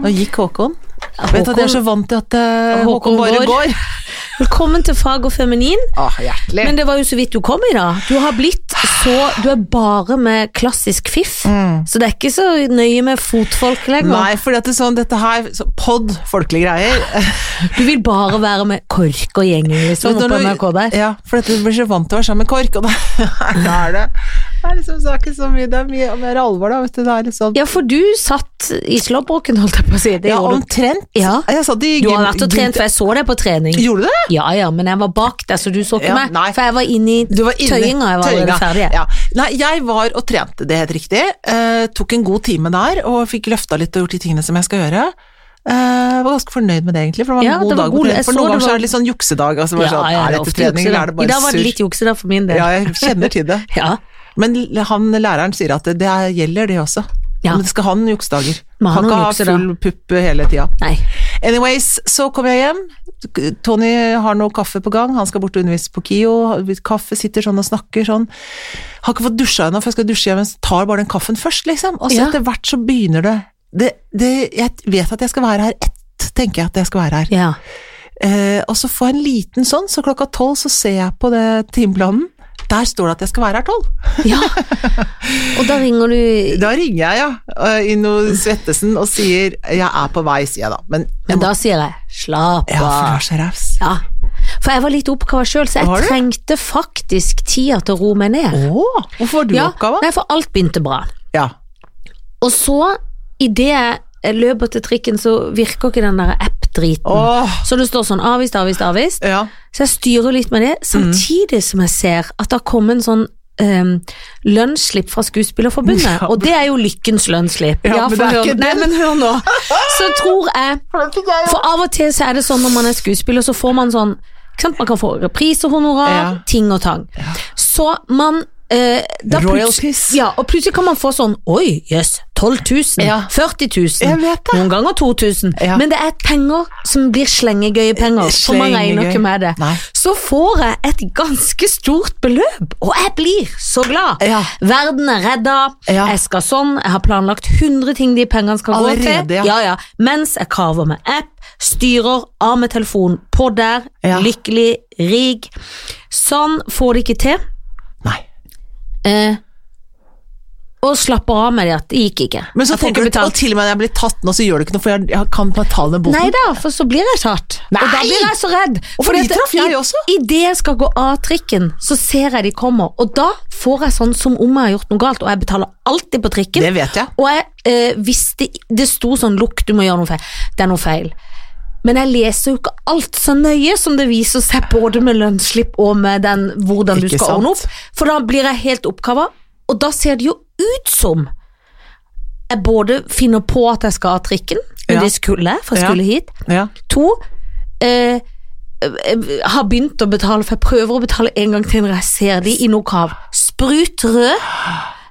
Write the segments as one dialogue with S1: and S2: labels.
S1: Nå gikk Håkon. Vet du, at jeg er så vant til at eh, Håkon,
S2: Håkon
S1: bare
S2: går.
S1: går.
S2: Velkommen til Fag og feminin.
S1: Åh, hjertelig.
S2: Men det var jo så vidt du kom i, da. Du har blitt så Du er bare med klassisk fiff.
S1: Mm.
S2: Så det er ikke så nøye med fotfolk lenger.
S1: Nei, for det er sånn, dette her så Pod, folkelige greier.
S2: Du vil bare være med KORK og gjengen, liksom,
S1: Vet du,
S2: oppe på
S1: når
S2: NRK
S1: du-
S2: der.
S1: Ja, for dette du blir så vant til å være sammen med KORK, og da, da er det det er liksom så er ikke så mye, det er mye mer alvor, da. Vet du, det er litt sånn
S2: Ja, for du satt i slåbroken, holdt jeg på å si. Det
S1: Ja,
S2: gjorde du.
S1: omtrent.
S2: Ja.
S1: Jeg satt i
S2: Du har
S1: gym-
S2: vært og trent, for jeg så deg på trening.
S1: Gjorde du det?
S2: Ja ja, men jeg var bak deg, så du så ikke
S1: Ja,
S2: meg.
S1: nei.
S2: For jeg var inne i
S1: Du var inne-
S2: tøyinga, jeg var allerede
S1: tøyinga.
S2: ferdig. jeg.
S1: Ja. Nei, jeg var og trente, det er helt riktig. Eh, tok en god time der, og fikk løfta litt og gjort de tingene som jeg skal gjøre. Eh, var ganske fornøyd med det, egentlig, for det var en
S2: Ja,
S1: god
S2: det var god-
S1: dag. på trening.
S2: jeg
S1: For
S2: så
S1: noen
S2: det
S1: ganger så
S2: var-
S1: er det litt sånn juksedag. Altså, bare sånn, er
S2: ofte
S1: dette trening, eller
S2: juksedag.
S1: er det bare
S2: I dag var det litt
S1: surr?
S2: jukse da, for min del.
S1: Ja, jeg kjenner til det.
S2: Ja.
S1: Men l- han læreren sier at det, det er- gjelder det også.
S2: Ja.
S1: Men det skal ha noen juksedager.
S2: Må ha
S1: Kan
S2: noen
S1: ikke ha
S2: juksedager.
S1: full pupp hele tida.
S2: Nei.
S1: Anyways, så kommer jeg hjem. Tony har noe kaffe på gang. Han skal bort og undervise på KIO. Kaffe sitter sånn og snakker sånn. Har ikke fått dusja ennå, for jeg skal dusje hjem, men tar bare den kaffen først, liksom. Og så
S2: Ja.
S1: etter hvert så begynner det. det, det jeg vet at jeg skal være her ett, tenker jeg at jeg skal være her.
S2: Ja.
S1: Eh, og så får jeg en liten sånn, så klokka tolv så ser jeg på det timeplanen. Der står det at jeg skal være her tolv.
S2: ja. Og da ringer du
S1: Da ringer jeg, ja, eh, Inno Svettesen og sier 'jeg er på vei', sier jeg da. Men jeg
S2: Men
S1: må,
S2: da sier jeg slapp
S1: ja, for du
S2: av.
S1: er så raus.
S2: Ja. For jeg var litt oppkava sjøl, så
S1: Var
S2: jeg
S1: du?
S2: trengte faktisk tida til å roe meg ned.
S1: Å, hvorfor var du
S2: Ja,
S1: oppgava?
S2: nei, for alt begynte bra.
S1: Ja.
S2: Og så, idet jeg løper til trikken, så virker ikke den der app-driten.
S1: Åh,
S2: Så det står sånn avvist, avvist, avvist.
S1: ja.
S2: Så jeg styrer litt med det,
S1: Mm.
S2: samtidig som jeg ser at det har kommet en sånn um, lønnsslipp fra Skuespillerforbundet. Og det er jo lykkens lønnsslipp.
S1: Ja, men
S2: for
S1: det er
S2: hør-
S1: ikke
S2: Nei,
S1: den.
S2: men hør nå. Så tror jeg For av og til så er det sånn når man er skuespiller, så får man sånn ikke sant? Man kan få reprisehonorar,
S1: Ja.
S2: ting og tang. Så man eh, da
S1: Royalties.
S2: plutselig- Ja, og plutselig kan man få sånn Oi, jøss. 12 000.
S1: Ja.
S2: 40 000.
S1: Jeg vet det.
S2: Noen ganger 2000.
S1: Ja.
S2: Men det er penger som blir slengegøye penger, for man regner
S1: Slengegøy.
S2: ikke med det.
S1: Nei.
S2: Så får jeg et ganske stort beløp, og jeg blir så glad.
S1: Ja.
S2: Verden er redda,
S1: Ja.
S2: jeg skal sånn, jeg har planlagt 100 ting de pengene skal gå
S1: Allerede,
S2: til.
S1: ja.
S2: Ja, ja. Mens jeg kaver med app, styrer av med telefonen på der,
S1: Ja.
S2: lykkelig, rig. Sånn får det ikke til.
S1: Nei.
S2: Eh, og slapper av med det at det gikk ikke.
S1: Men så
S2: Jeg får
S1: tenker
S2: ikke
S1: du, og
S2: betalt.
S1: til og med når jeg blir tatt nå, så gjør det ikke noe, for jeg, jeg kan betale den boten.
S2: Nei da, for så blir jeg tatt.
S1: Nei!
S2: Og da blir jeg så redd.
S1: Og for de traff jeg også.
S2: Idet jeg skal gå av trikken, så ser jeg de kommer. Og da får jeg sånn som om jeg har gjort noe galt, og jeg betaler alltid på trikken.
S1: Det vet jeg.
S2: Og jeg eh, visste Det sto sånn 'lukk, du må gjøre noe feil'. Det er noe feil. Men jeg leser jo ikke alt så nøye som det viser seg både med lønnsslipp og med den hvordan du
S1: Ikke
S2: skal
S1: sant?
S2: ordne opp, for da blir jeg helt oppkava, og da ser det jo ut som jeg både finner på at jeg skal ha trikken, men
S1: Ja.
S2: det skulle jeg, for jeg
S1: Ja.
S2: skulle hit.
S1: Ja.
S2: To, eh, eh, har begynt å betale, for jeg prøver å betale en gang til når jeg ser de i noe kav. Sprut rød.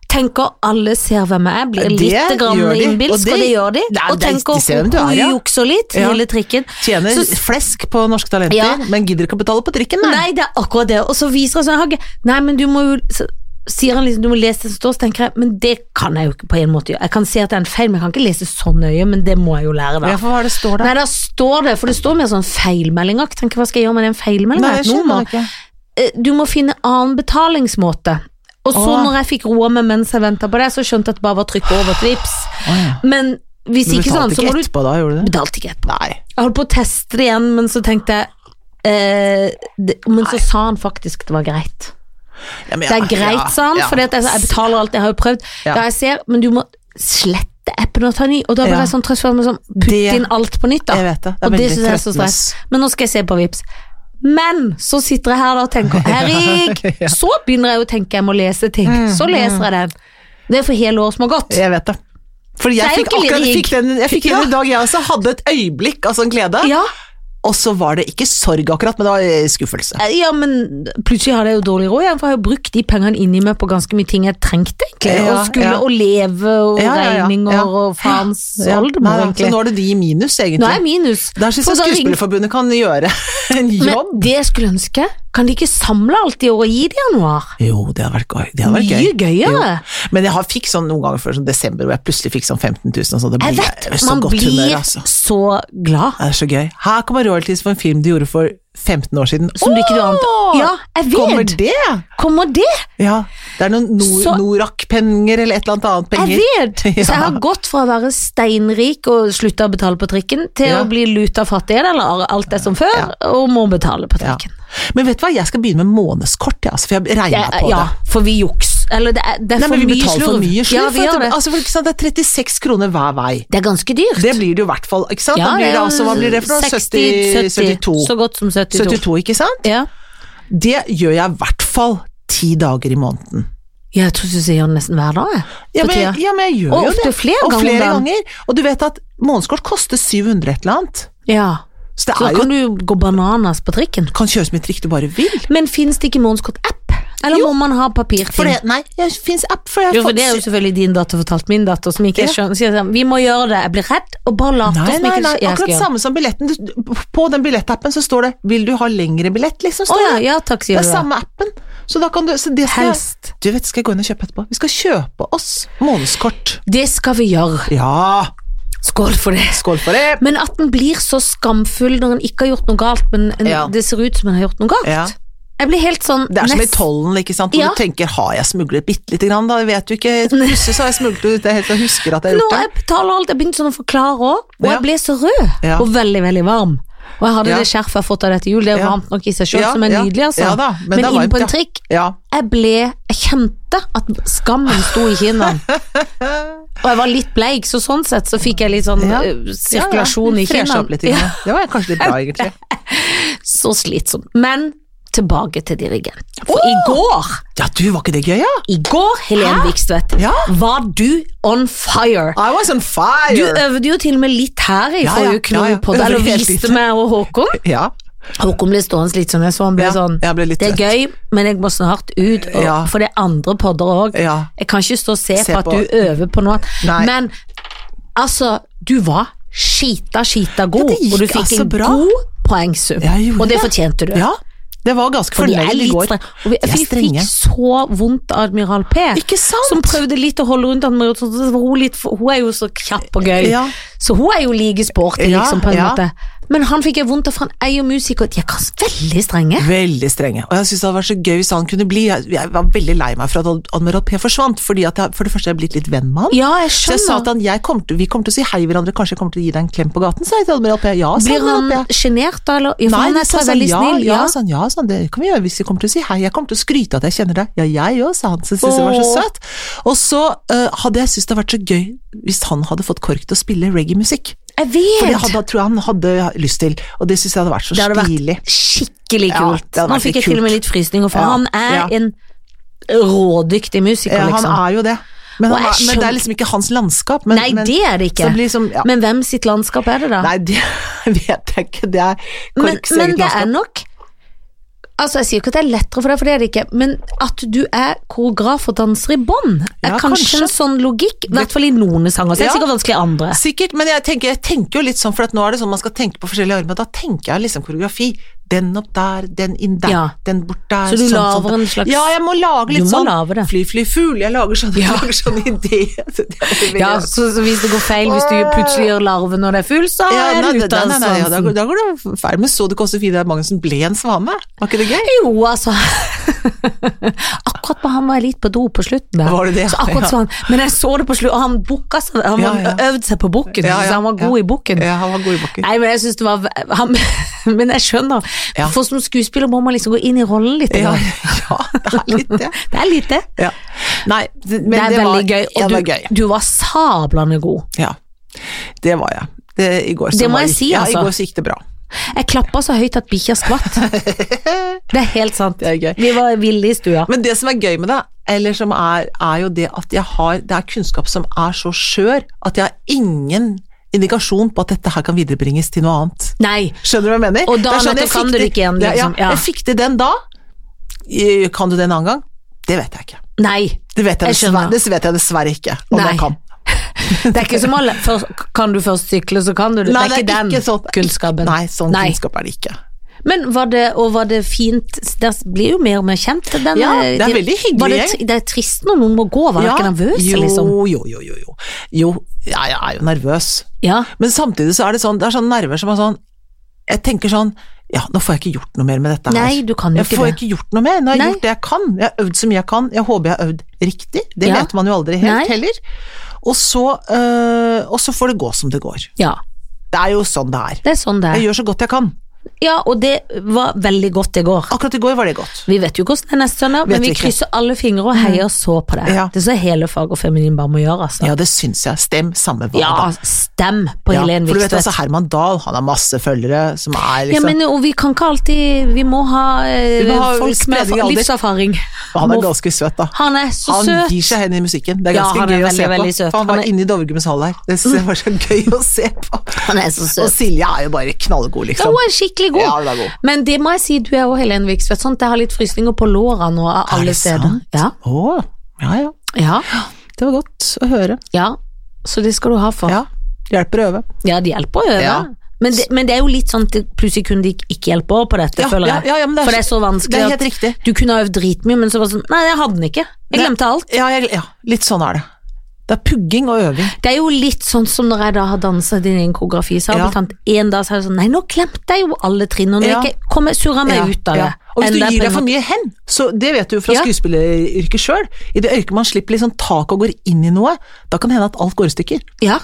S2: Tenker alle ser hvem jeg er, blir
S1: Det
S2: litt grann
S1: gjør de,
S2: innbilsk,
S1: og
S2: og,
S1: det-
S2: det gjør de.
S1: Nei,
S2: og
S1: det er- de ser
S2: tenker
S1: hvem du er,
S2: hun
S1: ja.
S2: jukser litt,
S1: Ja.
S2: hele trikken.
S1: Tjener
S2: Så-
S1: flesk på norske talenter,
S2: Ja.
S1: men gidder ikke å betale på trikken, nei.
S2: Nei, det er akkurat det. Og så viser han sånn Hage, Nei, men du må jo så Sier han liksom du må lese det som står, så tenker jeg men det kan jeg jo ikke på en måte gjøre. Jeg kan si at det er en feil, men jeg kan ikke lese så nøye, men det må jeg jo lære, da.
S1: Ja, for hva er det står
S2: Nei,
S1: der?
S2: da står det, for det står mer sånn feilmeldingakt. Tenker, hva skal jeg gjøre med den
S1: Nei, sånn jeg skjønner
S2: feilmeldingen? Eh,
S1: ikke.
S2: Du må finne annen betalingsmåte. Og så
S1: Åh.
S2: når jeg fikk roa meg mens jeg venta på det, så skjønte jeg at det bare var å trykke over et vips.
S1: Å, ja.
S2: Men hvis
S1: Du
S2: ikke sånn,
S1: betalte
S2: så
S1: ikke
S2: må du
S1: etterpå da, gjorde du det?
S2: Betalte ikke etterpå.
S1: Nei.
S2: Jeg holdt på å teste det igjen, men så tenkte jeg Eh, det, men så sa han faktisk det var greit.
S1: Ja, men
S2: Det er
S1: Ah, ja,
S2: greit, sånn,
S1: ja,
S2: sa han,
S1: ja.
S2: for jeg, jeg betaler alt, jeg har jo prøvd.
S1: Ja.
S2: Ja, jeg ser, men du må slette appen og ta ny. Og da ble
S1: Ja.
S2: jeg sånn trøstfull, sånn, putt
S1: Det-
S2: inn alt på nytt, da.
S1: Jeg vet det. Det er
S2: og det
S1: veldig
S2: synes jeg er så stress.
S1: trøttende.
S2: Men nå skal jeg se på Vips. Men så sitter jeg her da og tenker Herregud! Så begynner jeg å tenke jeg må lese ting.
S1: Mm,
S2: Så leser jeg den. Det er for hele året som har gått.
S1: Jeg vet det. Fordi
S2: Det er
S1: jeg
S2: jo
S1: fikk
S2: ikke
S1: akkurat jeg
S2: lyrik.
S1: fikk den, jeg fikk den
S2: Ja.
S1: i dag, jeg også. Hadde et øyeblikk av sånn glede.
S2: Ja,
S1: Og så var det ikke sorg akkurat, men det var eh, skuffelse.
S2: eh, ja men plutselig har jeg jo dårlig råd igjen, for jeg har jo brukt de pengene inni meg på ganske mye ting jeg trengte, egentlig.
S1: Ja,
S2: og skulle
S1: ja.
S2: og leve og
S1: Ja, ja, ja,
S2: regninger
S1: ja.
S2: og faens
S1: Ja. Nei,
S2: oldemor,
S1: da, Så
S2: egentlig.
S1: nå er det de i sånn minus, egentlig.
S2: Nå er jeg minus.
S1: Der syns
S2: For
S1: jeg
S2: da ring-
S1: Skuespillerforbundet kan gjøre en
S2: Men
S1: jobb.
S2: det jeg skulle ønske, Kan de ikke samle alt i år og gi det i januar?
S1: Jo, det hadde vært gøy. Det hadde vært
S2: Mye
S1: gøy.
S2: gøyere.
S1: Men jeg har fikk sånn noen ganger før, sånn desember, hvor jeg plutselig fikk sånn 15 000 og sånn. Det
S2: Jeg
S1: blir
S2: vet,
S1: jeg er så
S2: man
S1: godt
S2: blir
S1: humør, altså.
S2: så glad.
S1: Det er så gøy. Her kommer royalties for en film du gjorde for 15 år siden.
S2: Som du ikke du ante.
S1: Åh!
S2: Ja, jeg
S1: Kommer
S2: vet.
S1: det?
S2: Kommer det?
S1: Ja. Det er noen nor
S2: Så-
S1: Norak-penger eller et eller annet annet penger.
S2: Jeg vet!
S1: Ja.
S2: Så jeg har gått fra å være steinrik og slutte å betale på trikken, til
S1: Ja.
S2: å bli luta fattig igjen, eller alt er som før, og må betale på trikken.
S1: Men vet du hva, jeg skal begynne med månedskort, jeg, altså, for jeg regna
S2: Det er-
S1: på
S2: ja,
S1: det.
S2: for vi juks. Eller det er, det er
S1: Nei,
S2: for,
S1: men vi
S2: mye
S1: betaler
S2: slurv.
S1: for mye slurv.
S2: Ja, vi
S1: for
S2: gjør
S1: at det,
S2: det.
S1: altså, for, ikke sant, det er 36 kroner hver vei.
S2: Det er ganske dyrt.
S1: Det blir det jo i hvert fall. Ikke sant?
S2: Ja,
S1: da blir det,
S2: er
S1: altså, hva blir det for noe? 70,
S2: Så
S1: 72.
S2: godt som 72.
S1: 72, ikke sant?
S2: Ja.
S1: Det gjør jeg i hvert fall ti dager i måneden.
S2: Jeg tror du sier nesten hver dag, jeg.
S1: Ja
S2: For
S1: men,
S2: tida.
S1: ja, men jeg gjør
S2: Og
S1: jo
S2: ofte
S1: det.
S2: flere
S1: og
S2: ganger om
S1: flere
S2: dagen.
S1: ganger. Og du vet at månedskort koster 700 et eller annet.
S2: ja.
S1: Så det
S2: Så da
S1: er jo
S2: kan du gå bananas på trikken.
S1: kan kjøre så mye trikk du bare vil.
S2: Men fins det ikke månedskort-app? Eller må man ha
S1: For
S2: papirting?
S1: det, nei, det fins app, for jeg
S2: Jo, for det er jo selvfølgelig din datter fortalt min datter, som ikke
S1: Ja.
S2: skjønner. Sier sånn, vi må gjøre det, jeg blir redd, og bare later
S1: Nei,
S2: som
S1: nei,
S2: ikke
S1: nei,
S2: skjer. Jeg skal gjøre
S1: akkurat
S2: det.
S1: samme som billetten. Du, på den billettappen så står det 'Vil du ha lengre billett?' liksom.
S2: Å
S1: Står
S2: ja,
S1: det.
S2: ja takk,
S1: det
S2: sier
S1: er
S2: du. da.
S1: samme appen. Så da kan du så det skal jeg-
S2: Helst.
S1: Du vet, skal jeg gå inn og kjøpe etterpå? Vi skal kjøpe oss månedskort.
S2: Det skal vi gjøre.
S1: Ja!
S2: Skål for det.
S1: Skål for det!
S2: Men at den blir så skamfull når en ikke har gjort noe galt, men en,
S1: Ja.
S2: det ser ut som en har gjort noe galt.
S1: Ja.
S2: Jeg blir helt sånn
S1: Det er som i
S2: nest-
S1: tollen, ikke sant, hvor
S2: Ja.
S1: du tenker 'har jeg smuglet bitte lite grann', da? Jeg vet jo ikke. Plutselig så har jeg smuglet ut det helt til jeg husker at jeg har
S2: Nå
S1: gjort det.
S2: jeg betaler alt, jeg begynte sånn å forklare òg, og
S1: Ja.
S2: jeg ble så rød,
S1: Ja.
S2: og veldig, veldig varm. Og jeg hadde
S1: Ja.
S2: det skjerfet jeg har fått av dette jul, det er
S1: Ja.
S2: varmt nok i seg sjøl,
S1: Ja,
S2: som er
S1: ja.
S2: nydelig, altså.
S1: Ja da, men
S2: men
S1: det er varmt,
S2: inn på
S1: ja.
S2: en trikk,
S1: Ja.
S2: jeg ble Jeg kjente at skammen sto i kinnene. Og jeg var litt bleik, så sånn sett så fikk jeg litt sånn
S1: Ja.
S2: eh, sirkulasjon
S1: ja, ja.
S2: i
S1: Freshe opp litt.
S2: kinnene.
S1: Ja. Det var kanskje litt bra, egentlig.
S2: Så slitsom. Men tilbake til dirigent. For i går
S1: Ja, du, var ikke det gøy, ja?
S2: I går, Helen Vikstvedt,
S1: Ja.
S2: var du on fire.
S1: I was on fire!
S2: Du øvde jo til og med litt her i
S1: Ja, ja,
S2: forrige uke, når
S1: ja, ja.
S2: vi podde, eller
S1: Øvde helt
S2: viste
S1: litt.
S2: meg og Håkon.
S1: ja.
S2: Håkon ble stående litt sånn, jeg så han ble
S1: Ja,
S2: sånn
S1: jeg ble litt
S2: Det er gøy, men jeg må snart ut, og,
S1: Ja.
S2: for det er andre podder òg.
S1: Ja.
S2: Jeg kan ikke stå og se,
S1: Se
S2: på at
S1: på.
S2: du øver på noe.
S1: Nei.
S2: Men altså, du var skita, skita god,
S1: Ja, det gikk
S2: og du fikk
S1: altså
S2: en
S1: bra.
S2: god poengsum.
S1: Ja, jeg gjorde
S2: Og det
S1: det.
S2: fortjente du.
S1: ja. Det var ganske
S2: For de er
S1: fornøyd i
S2: litt
S1: går.
S2: strenge. Og vi,
S1: De er
S2: vi fikk
S1: strenge.
S2: så vondt av Admiral P,
S1: Ikke sant?
S2: som prøvde litt å holde rundt han, men så- så var hun, litt, for- hun er jo så kjapp og gøy,
S1: Ja.
S2: så hun er jo like sporty,
S1: Ja,
S2: liksom, på en
S1: ja.
S2: måte. Men han fikk jeg vondt av, for han er jo musiker, og de er ganske veldig strenge.
S1: Veldig strenge. Og jeg synes det hadde vært så gøy hvis han kunne bli. Jeg, jeg var veldig lei meg for at Admiral P forsvant, fordi at jeg, for det første er jeg blitt litt venn med han.
S2: Ja, jeg
S1: Så jeg sa til
S2: skjønner.
S1: han, jeg kommer til, vi kommer til å si hei hverandre, kanskje jeg kommer til å gi deg en klem på gaten, sa jeg til Admiral P. Ja, sa
S2: Blir
S1: Admiral P.
S2: han sjenert da, eller? Ja, for han er
S1: sa sånn,
S2: så veldig
S1: ja,
S2: snill.
S1: Ja,
S2: Ja,
S1: sa han, ja, sa han, det kan vi gjøre hvis vi kommer til å si hei. Jeg kommer til å skryte at jeg kjenner deg. Ja, jeg òg, sa han. Så syntes jeg var så
S2: Åh.
S1: søt. Og så eh, hadde jeg syntes det hadde vært så gøy hvis han hadde fått KORK til å spille reggae-musikk.
S2: jeg
S1: For
S2: vet.
S1: det hadde, tror jeg han hadde lyst til, og det syns jeg hadde vært så
S2: Det hadde vært
S1: stilig.
S2: Skikkelig
S1: Ja,
S2: kult.
S1: det
S2: Nå
S1: hadde vært litt
S2: fikk jeg til og med litt frysninger, for
S1: Ja,
S2: han er
S1: ja.
S2: en rådyktig musiker,
S1: Ja, han
S2: liksom.
S1: er jo det. Men,
S2: Og
S1: han,
S2: jeg
S1: er- men det
S2: skjønner-
S1: er liksom ikke hans landskap. Men,
S2: Nei,
S1: men,
S2: det er det ikke.
S1: så det blir liksom- ja.
S2: Men hvem sitt landskap er det da?
S1: Nei, det vet jeg ikke. Det er
S2: men,
S1: KORKs
S2: men
S1: eget
S2: det er
S1: landskap.
S2: nok Altså Jeg sier ikke at det er lettere for deg, for det er det ikke, men at du er koreograf og danser i bånd, er
S1: Ja,
S2: kanskje,
S1: kanskje.
S2: en sånn logikk. I hvert fall i noen sanger. Så er det
S1: Ja.
S2: sikkert vanskelig i andre.
S1: Sikkert, men jeg tenker, jeg tenker jo litt sånn, for at nå er det sånn man skal tenke på forskjellige armer, da tenker jeg liksom koreografi. Den opp der, den inn der,
S2: Ja.
S1: den bort der.
S2: Så du
S1: sånn,
S2: lager
S1: sånn.
S2: en slags-
S1: Ja, jeg må lage litt
S2: Du må
S1: sånn.
S2: lage det.
S1: Fly, fly, fugl. Jeg lager sånn, jeg lager sånn idé. Så det er veldig
S2: Ja,
S1: rart.
S2: så, så hvis det går feil, hvis du plutselig gjør larven når det er full, så
S1: Ja,
S2: er
S1: nei,
S2: det
S1: nei,
S2: ute
S1: nei,
S2: av
S1: nei, ja, da, går-
S2: sansen.
S1: da går det feil. Men så du ikke også Vidar Magnussen ble en svame? Var ikke det gøy?
S2: Jo, altså Akkurat på han var jeg litt på do på slutten der.
S1: Var det det?
S2: Så akkurat
S1: Ja.
S2: sånn. Men jeg så det på slutten, og han bukka seg, han
S1: Ja, ja.
S2: øvde seg på bukken,
S1: Ja, ja,
S2: så han var god
S1: ja.
S2: i bukken.
S1: Ja, han var god i bakken.
S2: Nei, men jeg synes det var han, Men jeg skjønner.
S1: Ja.
S2: For som skuespiller må man liksom gå inn i rollen litt.
S1: Ja,
S2: grann.
S1: ja, det er litt det.
S2: Det er litt det.
S1: Ja. Nei, det- men
S2: det er
S1: var,
S2: veldig gøy.
S1: ja,
S2: Og
S1: det var
S2: du,
S1: gøy.
S2: du var sablende god.
S1: Ja, det var jeg. Det, I går så
S2: Det må
S1: var-
S2: jeg si,
S1: ja,
S2: altså.
S1: I går så gikk det bra.
S2: Jeg klappa så høyt at bikkja skvatt. Det er helt sant.
S1: Det er gøy.
S2: Vi var ville i stua.
S1: Men det som er gøy med det, eller som er, er jo det at jeg har, det er kunnskap som er så skjør at jeg har ingen indikasjon på at dette her kan viderebringes til noe annet.
S2: Nei.
S1: Skjønner du hva jeg mener?
S2: Og da,
S1: Det er sånn,
S2: nettopp,
S1: jeg fikk
S2: kan du det ikke igjen,
S1: det-
S2: liksom.
S1: Ja,
S2: Ja.
S1: Jeg fikk det den da, Eh, kan du det en annen gang? Det vet jeg ikke.
S2: Nei.
S1: Det vet jeg,
S2: Jeg skjønner.
S1: dessverre, det vet jeg dessverre ikke, om
S2: Nei.
S1: jeg kan.
S2: Det er ikke som alle først, Kan du først sykle, så kan du det.
S1: Nei,
S2: det er ikke den
S1: sånn-
S2: kunnskapen.
S1: Nei, sånn
S2: Nei.
S1: kunnskap er det ikke.
S2: Men var det, og var det fint Der blir jo mer og mer kjent. Den,
S1: Ja, det er
S2: de-
S1: veldig hyggelig
S2: Var det,
S1: gjeng.
S2: det er trist når noen må gå, var dere ikke nervøse,
S1: jo,
S2: liksom?
S1: Jo, jo, jo, jo. Jo, ja, jeg er jo nervøs.
S2: Ja.
S1: Men samtidig så er det sånn, det er sånne nerver som er sånn Jeg tenker sånn Ja, nå får jeg ikke gjort noe mer med dette her.
S2: Nei, du kan jo
S1: jeg
S2: ikke
S1: får
S2: det.
S1: ikke gjort noe mer. Nå har jeg
S2: Nei.
S1: gjort det jeg kan. Jeg har øvd så mye jeg kan. Jeg håper jeg har øvd riktig. Det
S2: Ja.
S1: vet man jo aldri helt
S2: Nei.
S1: heller. Og så, øh, og så får det gå som det går.
S2: Ja,
S1: Det er jo sånn det er.
S2: det er sånn det
S1: Jeg
S2: er.
S1: gjør så godt jeg kan.
S2: Ja, og det var veldig godt i går.
S1: Akkurat i går var det godt.
S2: Vi vet jo hvordan det er neste søndag,
S1: Vet
S2: men vi
S1: ikke. Mm.
S2: krysser alle fingre og heier så på det.
S1: Ja.
S2: Det er så hele fag og feminin bare må gjøre, altså.
S1: Ja, det syns jeg. Stem samme hva.
S2: Ja,
S1: da.
S2: stem på
S1: Ja,
S2: Helen
S1: for du vet
S2: Vikstvedt.
S1: altså Herman Dahl, han har masse følgere som er
S2: Ja,
S1: liksom
S2: men og vi kan ikke alltid Vi må ha, eh,
S1: Vi må ha
S2: folk med
S1: spredning i alder.
S2: livserfaring.
S1: Og han
S2: Må-
S1: er ganske søt, da.
S2: han er så
S1: Han
S2: søt.
S1: gir seg hen i musikken. Det er
S2: Ja,
S1: ganske
S2: han er
S1: gøy å
S2: veldig,
S1: se på.
S2: veldig søt.
S1: For han
S2: Han
S1: var
S2: er-
S1: inne i Dovregubbens hall her. Det synes jeg var så gøy å se på.
S2: Han er så søt.
S1: Og Silje er jo bare knallgod,
S2: Ja,
S1: liksom.
S2: hun er skikkelig god.
S1: Ja, hun er god.
S2: Men det må jeg si, du er jo Helen Viksvedt. Sånn, at jeg har litt frysninger på låra nå av alle
S1: det
S2: steder.
S1: sant?
S2: Ja,
S1: Å, ja ja.
S2: ja,
S1: Det var godt å høre.
S2: ja. Så det skal du ha for. Ja,
S1: Ja. Hjelper å øve.
S2: det hjelper å øve.
S1: Ja.
S2: Men, det, men det er jo litt sånn at det- plutselig kunne de ikke hjelpe over på dette,
S1: Ja,
S2: føler jeg.
S1: ja, ja, men det er
S2: for det er så vanskelig
S1: Det er
S2: at
S1: helt riktig.
S2: du kunne ha øvd dritmye, men så var det sånn Nei, jeg hadde den ikke. Jeg
S1: Nei.
S2: glemte alt.
S1: Ja, jeg, ja, litt sånn er det. Det er pugging og øving.
S2: Det er jo litt sånn som når jeg da har danset i din koreografi, så har
S1: Ja.
S2: jeg blitt tatt en dag så er det sånn Nei, nå glemte jeg jo alle trinn, og nå
S1: Ja.
S2: ikke kom jeg surra meg
S1: Ja,
S2: ut av det.
S1: ja. Og hvis du
S2: Enda på
S1: gir
S2: en
S1: deg for
S2: måte-
S1: mye hen, så det vet du jo fra
S2: Ja.
S1: skuespilleryrket sjøl, i det øyeblikket man slipper liksom tak og går inn i noe, da kan det hende at alt går i stykker.
S2: Ja.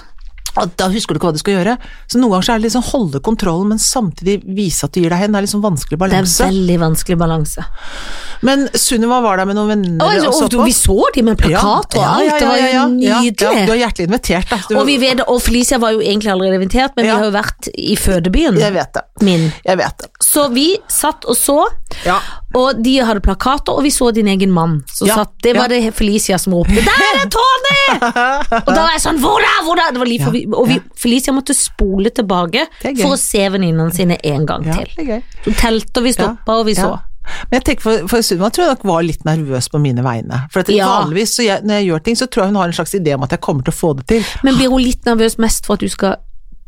S1: Og da husker du ikke hva du skal gjøre. Så noen ganger så er det liksom holde kontrollen, men samtidig vise at du gir deg hen. Det er liksom vanskelig
S2: Det er
S1: balanse.
S2: veldig vanskelig balanse.
S1: Men Sunniva var der med noen venner
S2: Å, altså, og du, vi så de med plakat og alt, det var jo nydelig.
S1: du er hjertelig invitert, da. Du,
S2: og, vi vet, og Felicia var jo egentlig allerede invitert, men
S1: Ja.
S2: vi har jo vært i fødebyen
S1: Jeg vet det.
S2: min.
S1: Jeg vet det.
S2: Så vi satt og så,
S1: Ja.
S2: og de hadde plakater, og vi så din egen mann. Så
S1: Ja,
S2: satt, det var det Felicia som ropte 'Der er det Tony!' Og da var jeg sånn 'Hvor da?' Hvor da? Det var liv for, og vi, Felicia måtte spole tilbake
S1: Det er gøy.
S2: for å se venninnene sine en gang
S1: ja,
S2: til.
S1: det er gøy.
S2: Så telte, og vi
S1: Ja,
S2: stoppa, og vi så.
S1: ja. Men jeg tenker for, for Sunniva tror jeg nok var litt nervøs på mine vegne. For at
S2: Ja.
S1: vanligvis så jeg, når jeg gjør ting, så tror jeg hun har en slags idé om at jeg kommer til å få det til.
S2: Men blir hun litt nervøs mest for at du skal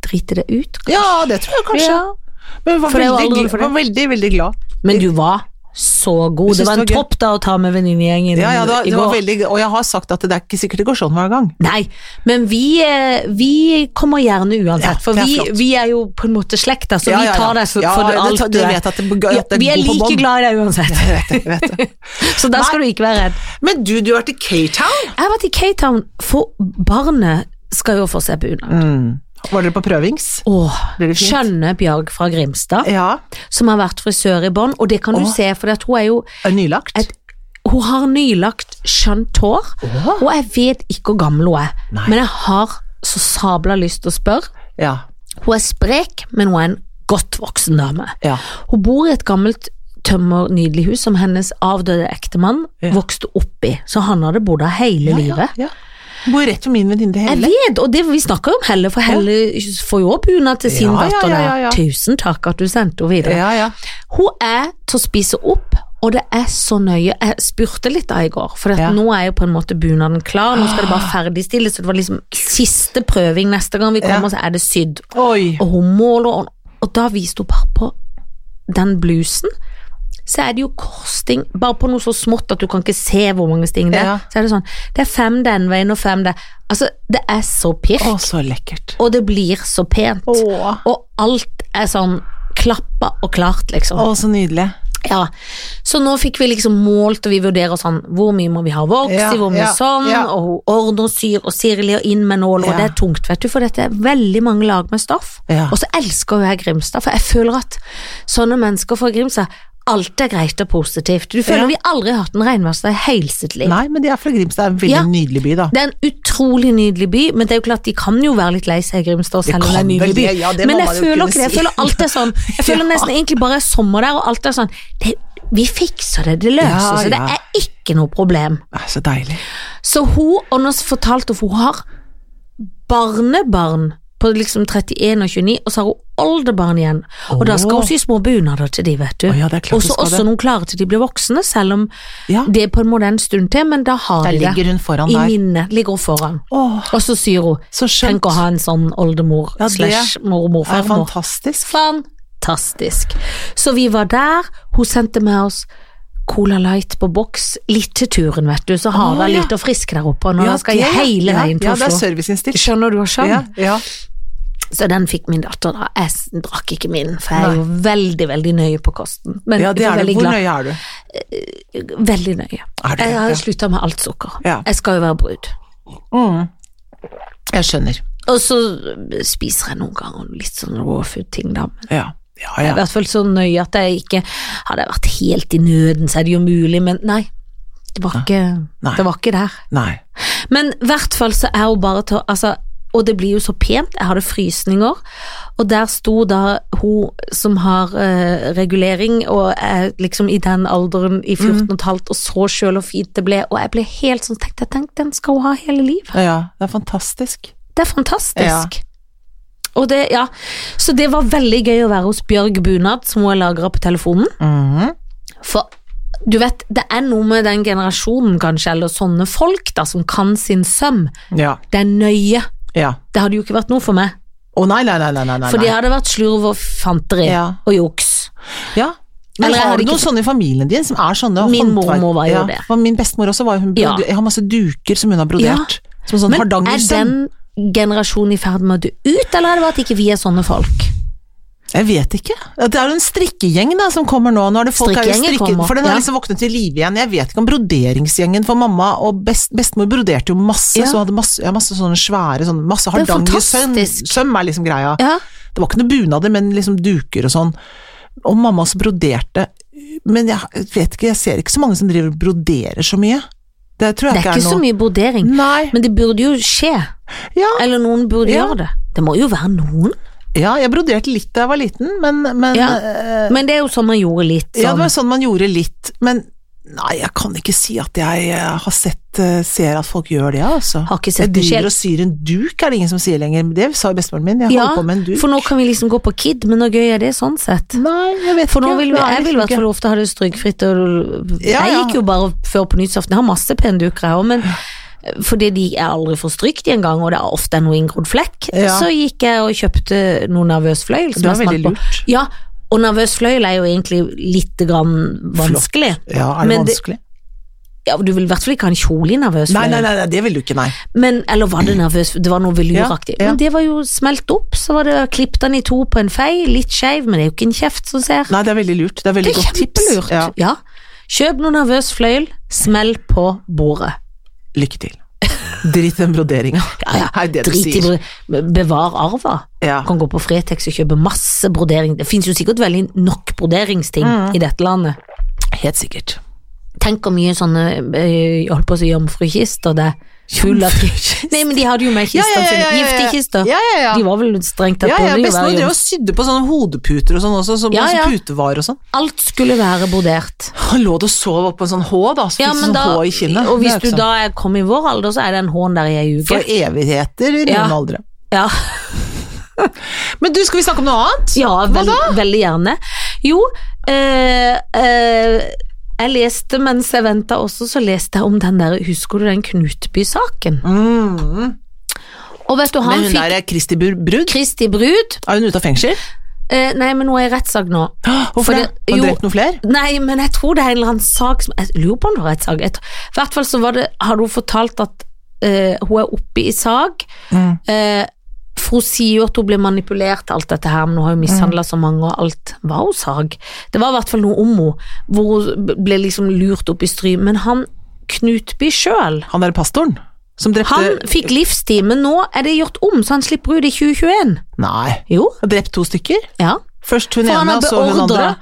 S2: drite det ut?
S1: Ja, det tror jeg kanskje.
S2: Ja.
S1: Men hun var,
S2: For det er jo
S1: veldig,
S2: aldri
S1: gl-
S2: for det.
S1: var veldig, veldig glad.
S2: Men du var så god. Det
S1: synes
S2: var en
S1: det var gøy.
S2: topp da å ta med venninnegjengen
S1: Ja, ja, det var,
S2: i
S1: det var
S2: går.
S1: veldig, og jeg har sagt at det er ikke sikkert det går sånn hver gang.
S2: Nei, men vi, eh, vi kommer gjerne
S1: Ja,
S2: uansett, for
S1: det er
S2: vi,
S1: flott.
S2: vi er jo på en måte slekta, så
S1: Ja, ja,
S2: vi
S1: ja.
S2: tar deg så,
S1: Ja,
S2: for
S1: det
S2: alt
S1: tar-
S2: du
S1: du
S2: er.
S1: vet at det- at det er
S2: vi er
S1: god på
S2: like
S1: bånd.
S2: glad i deg uansett,
S1: Jeg vet det, jeg vet det.
S2: så da skal du ikke være redd.
S1: Men du, du har vært i K-Town.
S2: Jeg har vært i Cape Town, for barnet skal jo få seg bunad.
S1: Var dere på prøvings?
S2: Åh,
S1: Mm. Blir det fint?
S2: skjønne Bjørg fra Grimstad,
S1: Ja.
S2: som har vært frisør i bånd, og det kan du
S1: Åh.
S2: se, for det at hun er jo
S1: Er det nylagt?
S2: Et- Hun har nylagt skjønt hår,
S1: Åh.
S2: og jeg vet ikke hvor gammel hun er.
S1: Nei.
S2: Men jeg har så sabla lyst til å spørre.
S1: Ja.
S2: Hun er sprek, men hun er en godt voksen dame.
S1: ja.
S2: Hun bor i et gammelt tømmer nydelig hus som hennes avdøde ektemann
S1: Ja.
S2: vokste opp i, så han hadde bodd der hele
S1: ja, ja,
S2: livet.
S1: ja. Bor rett ved min venninne
S2: Jeg
S1: Helle.
S2: vet, og det vi snakker jo om Helle, for Helle får jo også bunad til sin
S1: Ja, ja,
S2: datter der.
S1: ja, ja, ja.
S2: Tusen takk at du sendte henne videre.
S1: Ja, ja.
S2: Hun er til å spise opp, og det er så nøye. Jeg spurte litt da i går, for at
S1: Ja. Ah.
S2: nå er jo på en måte bunaden klar. Nå skal det bare ferdigstilles, så det var liksom siste prøving neste gang vi kommer,
S1: Ja.
S2: så er det sydd.
S1: Oi.
S2: Og hun måler, og, og da viste hun bare på den blusen. Så er det jo korsting, bare på noe så smått at du kan ikke se hvor mange sting det er.
S1: Ja.
S2: Så er det sånn, det er fem den veien og fem der. Altså, det er så pirk,
S1: Å, så lekkert.
S2: og det blir så pent.
S1: Å,
S2: Og alt er sånn klappa og klart, liksom.
S1: å så nydelig.
S2: Ja, så nå fikk vi liksom målt og vi vurderer sånn, hvor mye må vi ha voks i,
S1: Ja,
S2: hvor mye
S1: ja,
S2: sånn,
S1: ja.
S2: og hun ordner og syr og Sirli og inn med nåler,
S1: Ja.
S2: og det er tungt, vet du, for dette er veldig mange lag med stoff.
S1: Ja.
S2: Og så elsker jo jeg Grimstad, for jeg føler at sånne mennesker fra Grimstad, alt er greit og positivt. Du føler
S1: Ja.
S2: vi aldri har hatt en regnværsdag i hele sitt liv.
S1: Nei, men de er fra Grimstad. En veldig
S2: Ja.
S1: nydelig by, da.
S2: Det er en utrolig nydelig by, men det er jo klart de kan jo være litt lei seg i Grimstad, selv om det er en
S1: kan
S2: nydelig
S1: vel
S2: by.
S1: det, ja, det
S2: men
S1: må
S2: jeg
S1: man jo
S2: føler
S1: kunne
S2: ikke det. Jeg
S1: si.
S2: føler alt er sånn. Jeg føler nesten egentlig bare er sommer der, og alt er sånn det, Vi fikser det, det løser
S1: Ja,
S2: seg, det
S1: ja.
S2: er ikke noe problem.
S1: Det er så deilig.
S2: Så hun, og nå fortalte hun, for hun har barnebarn på liksom 31 og 29, og så har hun oldebarn igjen. Og da skal
S1: Åh.
S2: hun sy små bunader til de, vet du.
S1: Å ja, det er klart
S2: og
S1: hun
S2: så
S1: skal
S2: også
S1: det.
S2: noen klare til de blir voksne, selv om
S1: Ja.
S2: det er på en måte en stund til, men da har
S1: Der
S2: de det.
S1: ligger hun foran
S2: I
S1: der.
S2: minnet ligger hun foran.
S1: Å,
S2: Og så syr hun.
S1: så skjønt.
S2: Tenk å ha en sånn oldemor
S1: Ja, det
S2: slash mormor
S1: Det er
S2: farmor.
S1: fantastisk.
S2: Fantastisk. fantastisk. Så vi var der, hun sendte med oss Cola Light på boks, litt til turen, vet du, så har
S1: Å,
S2: hun
S1: ja.
S2: litt å friske der oppe, og nå
S1: Ja,
S2: skal jeg
S1: det-
S2: hele veien til
S1: ja, ja, det er
S2: Oslo.
S1: serviceinnstilt.
S2: Skjønner du hva sånn?
S1: Ja, ja.
S2: Så den fikk min datter da. Jeg s- drakk ikke min, for jeg er jo veldig, veldig nøye på kosten. Men
S1: ja, det
S2: jeg
S1: er
S2: var
S1: det.
S2: veldig
S1: Hvor
S2: glad.
S1: nøye er du?
S2: Veldig nøye.
S1: Er du det?
S2: Jeg har
S1: Ja.
S2: slutta med alt sukker.
S1: Ja.
S2: Jeg skal jo være brud.
S1: Mm. Jeg skjønner.
S2: Og så spiser jeg noen ganger litt sånn raw food-ting, da. Men
S1: Ja, ja.
S2: jeg er I
S1: ja.
S2: hvert fall så nøye at jeg ikke Hadde jeg vært helt i nøden, så er det jo mulig, men nei. Det var ikke,
S1: Nei.
S2: det var ikke der.
S1: Nei.
S2: Men i hvert fall så er hun bare til å altså, Og det blir jo så pent, jeg hadde frysninger. Og der sto da hun som har eh, regulering, og er liksom i den alderen
S1: Mm.
S2: i 14 15, og så sjøl hvor fint det ble, og jeg ble helt sånn tenkt, jeg tenkte den skal hun ha hele livet.
S1: Ja, Ja, det er fantastisk.
S2: Det er fantastisk. Og det, ja. Så det var veldig gøy å være hos Bjørg Bunad, som hun har lagra på telefonen.
S1: Mhm.
S2: For du vet, det er noe med den generasjonen, kanskje, eller sånne folk, da, som kan sin søm.
S1: Ja,
S2: Det er nøye.
S1: ja.
S2: Det hadde jo ikke vært noe for meg.
S1: Å nei, nei, nei, nei, nei, nei.
S2: For det hadde vært slurv og fanteri
S1: Ja.
S2: og juks.
S1: Ja. Men
S2: Eller jeg
S1: har
S2: hadde
S1: du
S2: ikke-
S1: noen sånne i familien din som er sånne
S2: Min
S1: håndverk-
S2: mormor var jo
S1: ja.
S2: det.
S1: for Min bestemor også var jo hun
S2: Ja.
S1: broder- Jeg har masse duker som hun har brodert. Som sånn
S2: Men er den
S1: hardangersøm.
S2: generasjonen i ferd med å dø ut, eller er det bare at ikke vi er sånne folk?
S1: Jeg vet ikke. Det er jo en strikkegjeng da som kommer nå. nå er det folk er jo
S2: Strikkegjengen
S1: strikke-
S2: kommer,
S1: For den har
S2: ja.
S1: liksom våknet til live igjen. Jeg vet ikke om broderingsgjengen for mamma og best, bestemor broderte jo masse,
S2: Ja.
S1: så hun hadde masse, ja, masse sånne svære sånn, Masse
S2: er
S1: hardangersøm
S2: fantastisk.
S1: søm er liksom greia.
S2: Ja.
S1: Det var ikke noe bunader, men liksom duker og sånn. Og mamma også broderte. Men jeg vet ikke, jeg ser ikke så mange som driver og broderer så mye. Det tror
S2: Det er
S1: jeg
S2: ikke
S1: ikke
S2: så
S1: er noe.
S2: mye brodering,
S1: Nei.
S2: men det burde jo skje.
S1: Ja.
S2: Eller noen burde
S1: Ja.
S2: gjøre det. Det må jo være noen.
S1: ja, jeg broderte litt da jeg var liten, men, men
S2: Ja.
S1: eh,
S2: Men det er jo sånn man gjorde litt.
S1: Ja, det
S2: Sånn.
S1: var sånn man gjorde litt, men nei, jeg kan ikke si at jeg eh, har sett, eh, ser at folk gjør det, altså.
S2: Har ikke
S1: Jeg
S2: sett det
S1: driver
S2: selv.
S1: og syr en duk, er det ingen som sier lenger. men Det sa jo bestemoren min, jeg
S2: Ja,
S1: holder på med en duk.
S2: for nå kan vi liksom gå på KID, men hvor gøy er det sånn sett?
S1: Nei, jeg vet
S2: For nå
S1: ikke.
S2: vil
S1: Det
S2: vi,
S1: er
S2: jeg vil i
S1: liksom
S2: hvert fall ofte ha det strykfritt, og
S1: Ja,
S2: jeg
S1: ja.
S2: gikk jo bare før på nyttårsaften. Jeg har masse pene duker, jeg òg, men fordi de er aldri for strykt i en gang, og det er ofte noe inngrodd flekk,
S1: Ja.
S2: så gikk jeg og kjøpte noe nervøs fløyel. som
S1: Det er
S2: jeg smalt
S1: veldig
S2: på.
S1: lurt.
S2: Ja, og nervøs fløyel er jo egentlig litt grann vanskelig.
S1: ikke. Ja, er det
S2: Men det-
S1: vanskelig?
S2: Ja, du vil i hvert fall ikke ha en kjole i nervøs
S1: Nei,
S2: fløyel.
S1: nei, nei, nei, det vil du ikke, nei.
S2: Men, eller var det nervøs, det var noe veluraktig.
S1: Ja, ja.
S2: Men det var jo smelt opp, så var det klippet den i to på en fei, litt skeiv, men det er jo ikke en kjeft som ser.
S1: Nei, det er veldig lurt. Det er
S2: det
S1: veldig
S2: er
S1: godt tips.
S2: kjempelurt. Ja.
S1: Ja,
S2: Kjøp noe nervøs fløyel, smell på bordet.
S1: lykke til. Drit den broderinga.
S2: Ja, ja,
S1: Det er det du
S2: Drit i
S1: sier.
S2: bro- bevar arva.
S1: Ja.
S2: Kan gå på Fretex og kjøpe masse brodering. Det finnes jo sikkert veldig nok broderingsting
S1: Mm.
S2: i dette landet.
S1: Helt sikkert.
S2: Tenk hvor mye sånne, øh, jeg holdt på å si jomfrukister, det er full av Nei, men de hadde jo med kistene sine, giftekister.
S1: Ja, ja, ja.
S2: De var vel strengt tatt
S1: Ja, ja,
S2: burde jo
S1: bestemor
S2: være
S1: drev
S2: jomfru.
S1: og sydde på sånne hodeputer og sånn også, så,
S2: Ja, ja.
S1: sånn putevarer og sånn.
S2: Alt skulle være brodert.
S1: Han lå og sov oppå en sånn H, da. Så fikk sånn H i kinnet.
S2: og
S1: Det
S2: hvis du
S1: er jo ikke sånn.
S2: da er kommet i vår alder, så er det en hån der i ei uke.
S1: For evigheter i noen
S2: Ja.
S1: aldre.
S2: Ja,
S1: Men du, skal vi snakke om noe annet?
S2: ja veld, veldig gjerne. Jo, eh, eh, jeg leste mens jeg venta også, så leste jeg om den der Husker du den Knutby-saken?
S1: Mm.
S2: Og vet du, han
S1: Men hun
S2: fikk
S1: der er Kristi Bur- Brud.
S2: Kristi Brud.
S1: Er hun ute av fengsel?
S2: Eh, nei, men nå er jeg i rettssak nå.
S1: Hå,
S2: For
S1: Hvorfor det?
S2: det-
S1: Har
S2: jo.
S1: hun drept noen flere?
S2: Nei, men jeg tror det er en eller annen sak som Jeg lurer på om det var et sak. Jeg tror- I hvert fall så var det, hadde hun fortalt at eh, hun er oppe i sak.
S1: Mm.
S2: Eh, for hun sier jo at hun ble manipulert, alt dette her, men hun har jo mishandla så mange, og alt var hun sag. Det var i hvert fall noe om henne, hvor hun b- ble liksom lurt opp i stry. Men han Knutby sjøl,
S1: Han der pastoren? Som drepte
S2: han fikk livstid, men nå er det gjort om, så han slipper ut i 2021.
S1: Nei.
S2: Jo,
S1: Han drept to stykker?
S2: ja.
S1: Først hun
S2: For han
S1: ene,
S2: har
S1: og så hun andre?
S2: beordra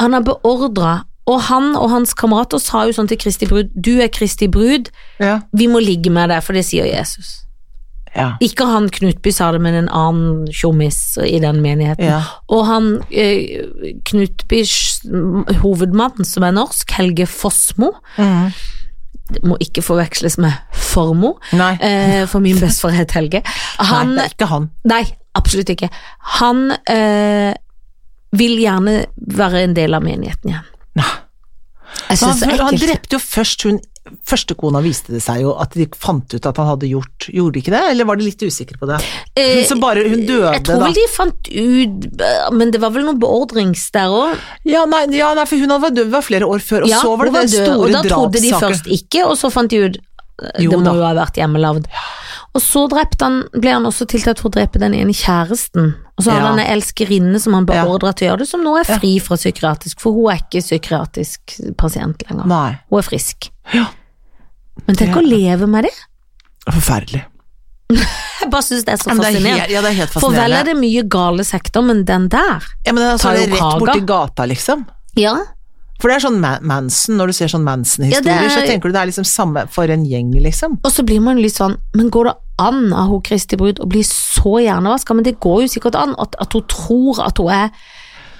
S2: Han har beordra, og han og hans kamerater sa jo sånn til Kristi brud Du er Kristi brud,
S1: Ja.
S2: vi må ligge med deg, for det sier Jesus.
S1: Ja.
S2: Ikke han Knutby sa det, men en annen tjommis i den menigheten.
S1: Ja.
S2: Og han eh, Knutbys hovedmann, som er norsk, Helge Fossmo,
S1: Mm.
S2: det må ikke forveksles med Formo,
S1: Nei.
S2: eh, for min bestefar het Helge. Han
S1: Nei, det er ikke han.
S2: Nei, absolutt ikke. Han eh, vil gjerne være en del av menigheten igjen.
S1: Nei.
S2: Jeg
S1: Så
S2: synes det
S1: han,
S2: er
S1: han
S2: ekkelt.
S1: drepte jo først hun Førstekona viste det seg jo at de fant ut at han hadde gjort Gjorde de ikke det, eller var de litt usikre på det? Hun som bare Eh, Hun døde,
S2: eh, Jeg tror
S1: da.
S2: vel de fant ut eh, Men det var vel noen beordrings der òg.
S1: Ja nei, ja, nei, for hun hadde vært død det var flere år før, og så var det den
S2: og
S1: store
S2: da trodde de
S1: drapssaken.
S2: først ikke, og så fant de ut eh,
S1: Jo
S2: Det må
S1: da.
S2: jo ha vært hjemmelavd. Og så drepte han, ble han også tiltalt for å drepe den ene kjæresten. Og så
S1: Ja.
S2: hadde han ei elskerinne som han
S1: Ja.
S2: beordra til å gjøre det, som nå er fri fra psykiatrisk, for hun er ikke psykiatrisk pasient lenger.
S1: Nei.
S2: Hun er frisk.
S1: Ja.
S2: Men tenk å leve med det.
S1: Forferdelig.
S2: Jeg bare syns det er så
S1: Ja, men det er
S2: fascinerende.
S1: helt- ja, det er helt
S2: For vel
S1: fascinerende.
S2: er det mye gale sekter, men den der
S1: Ja, men den er
S2: Tar
S1: sånn
S2: jo
S1: rett
S2: Haga.
S1: borti gata, liksom.
S2: Ja,
S1: For det er sånn Ma- Manson, når du ser sånn
S2: Ja, det
S1: Manson-historier,
S2: er-
S1: så tenker du det er liksom samme for en gjeng, liksom.
S2: og så blir man litt sånn Men går det an av hun Kristi Brud å bli så hjernevaska? Men det går jo sikkert an at, at hun tror at hun er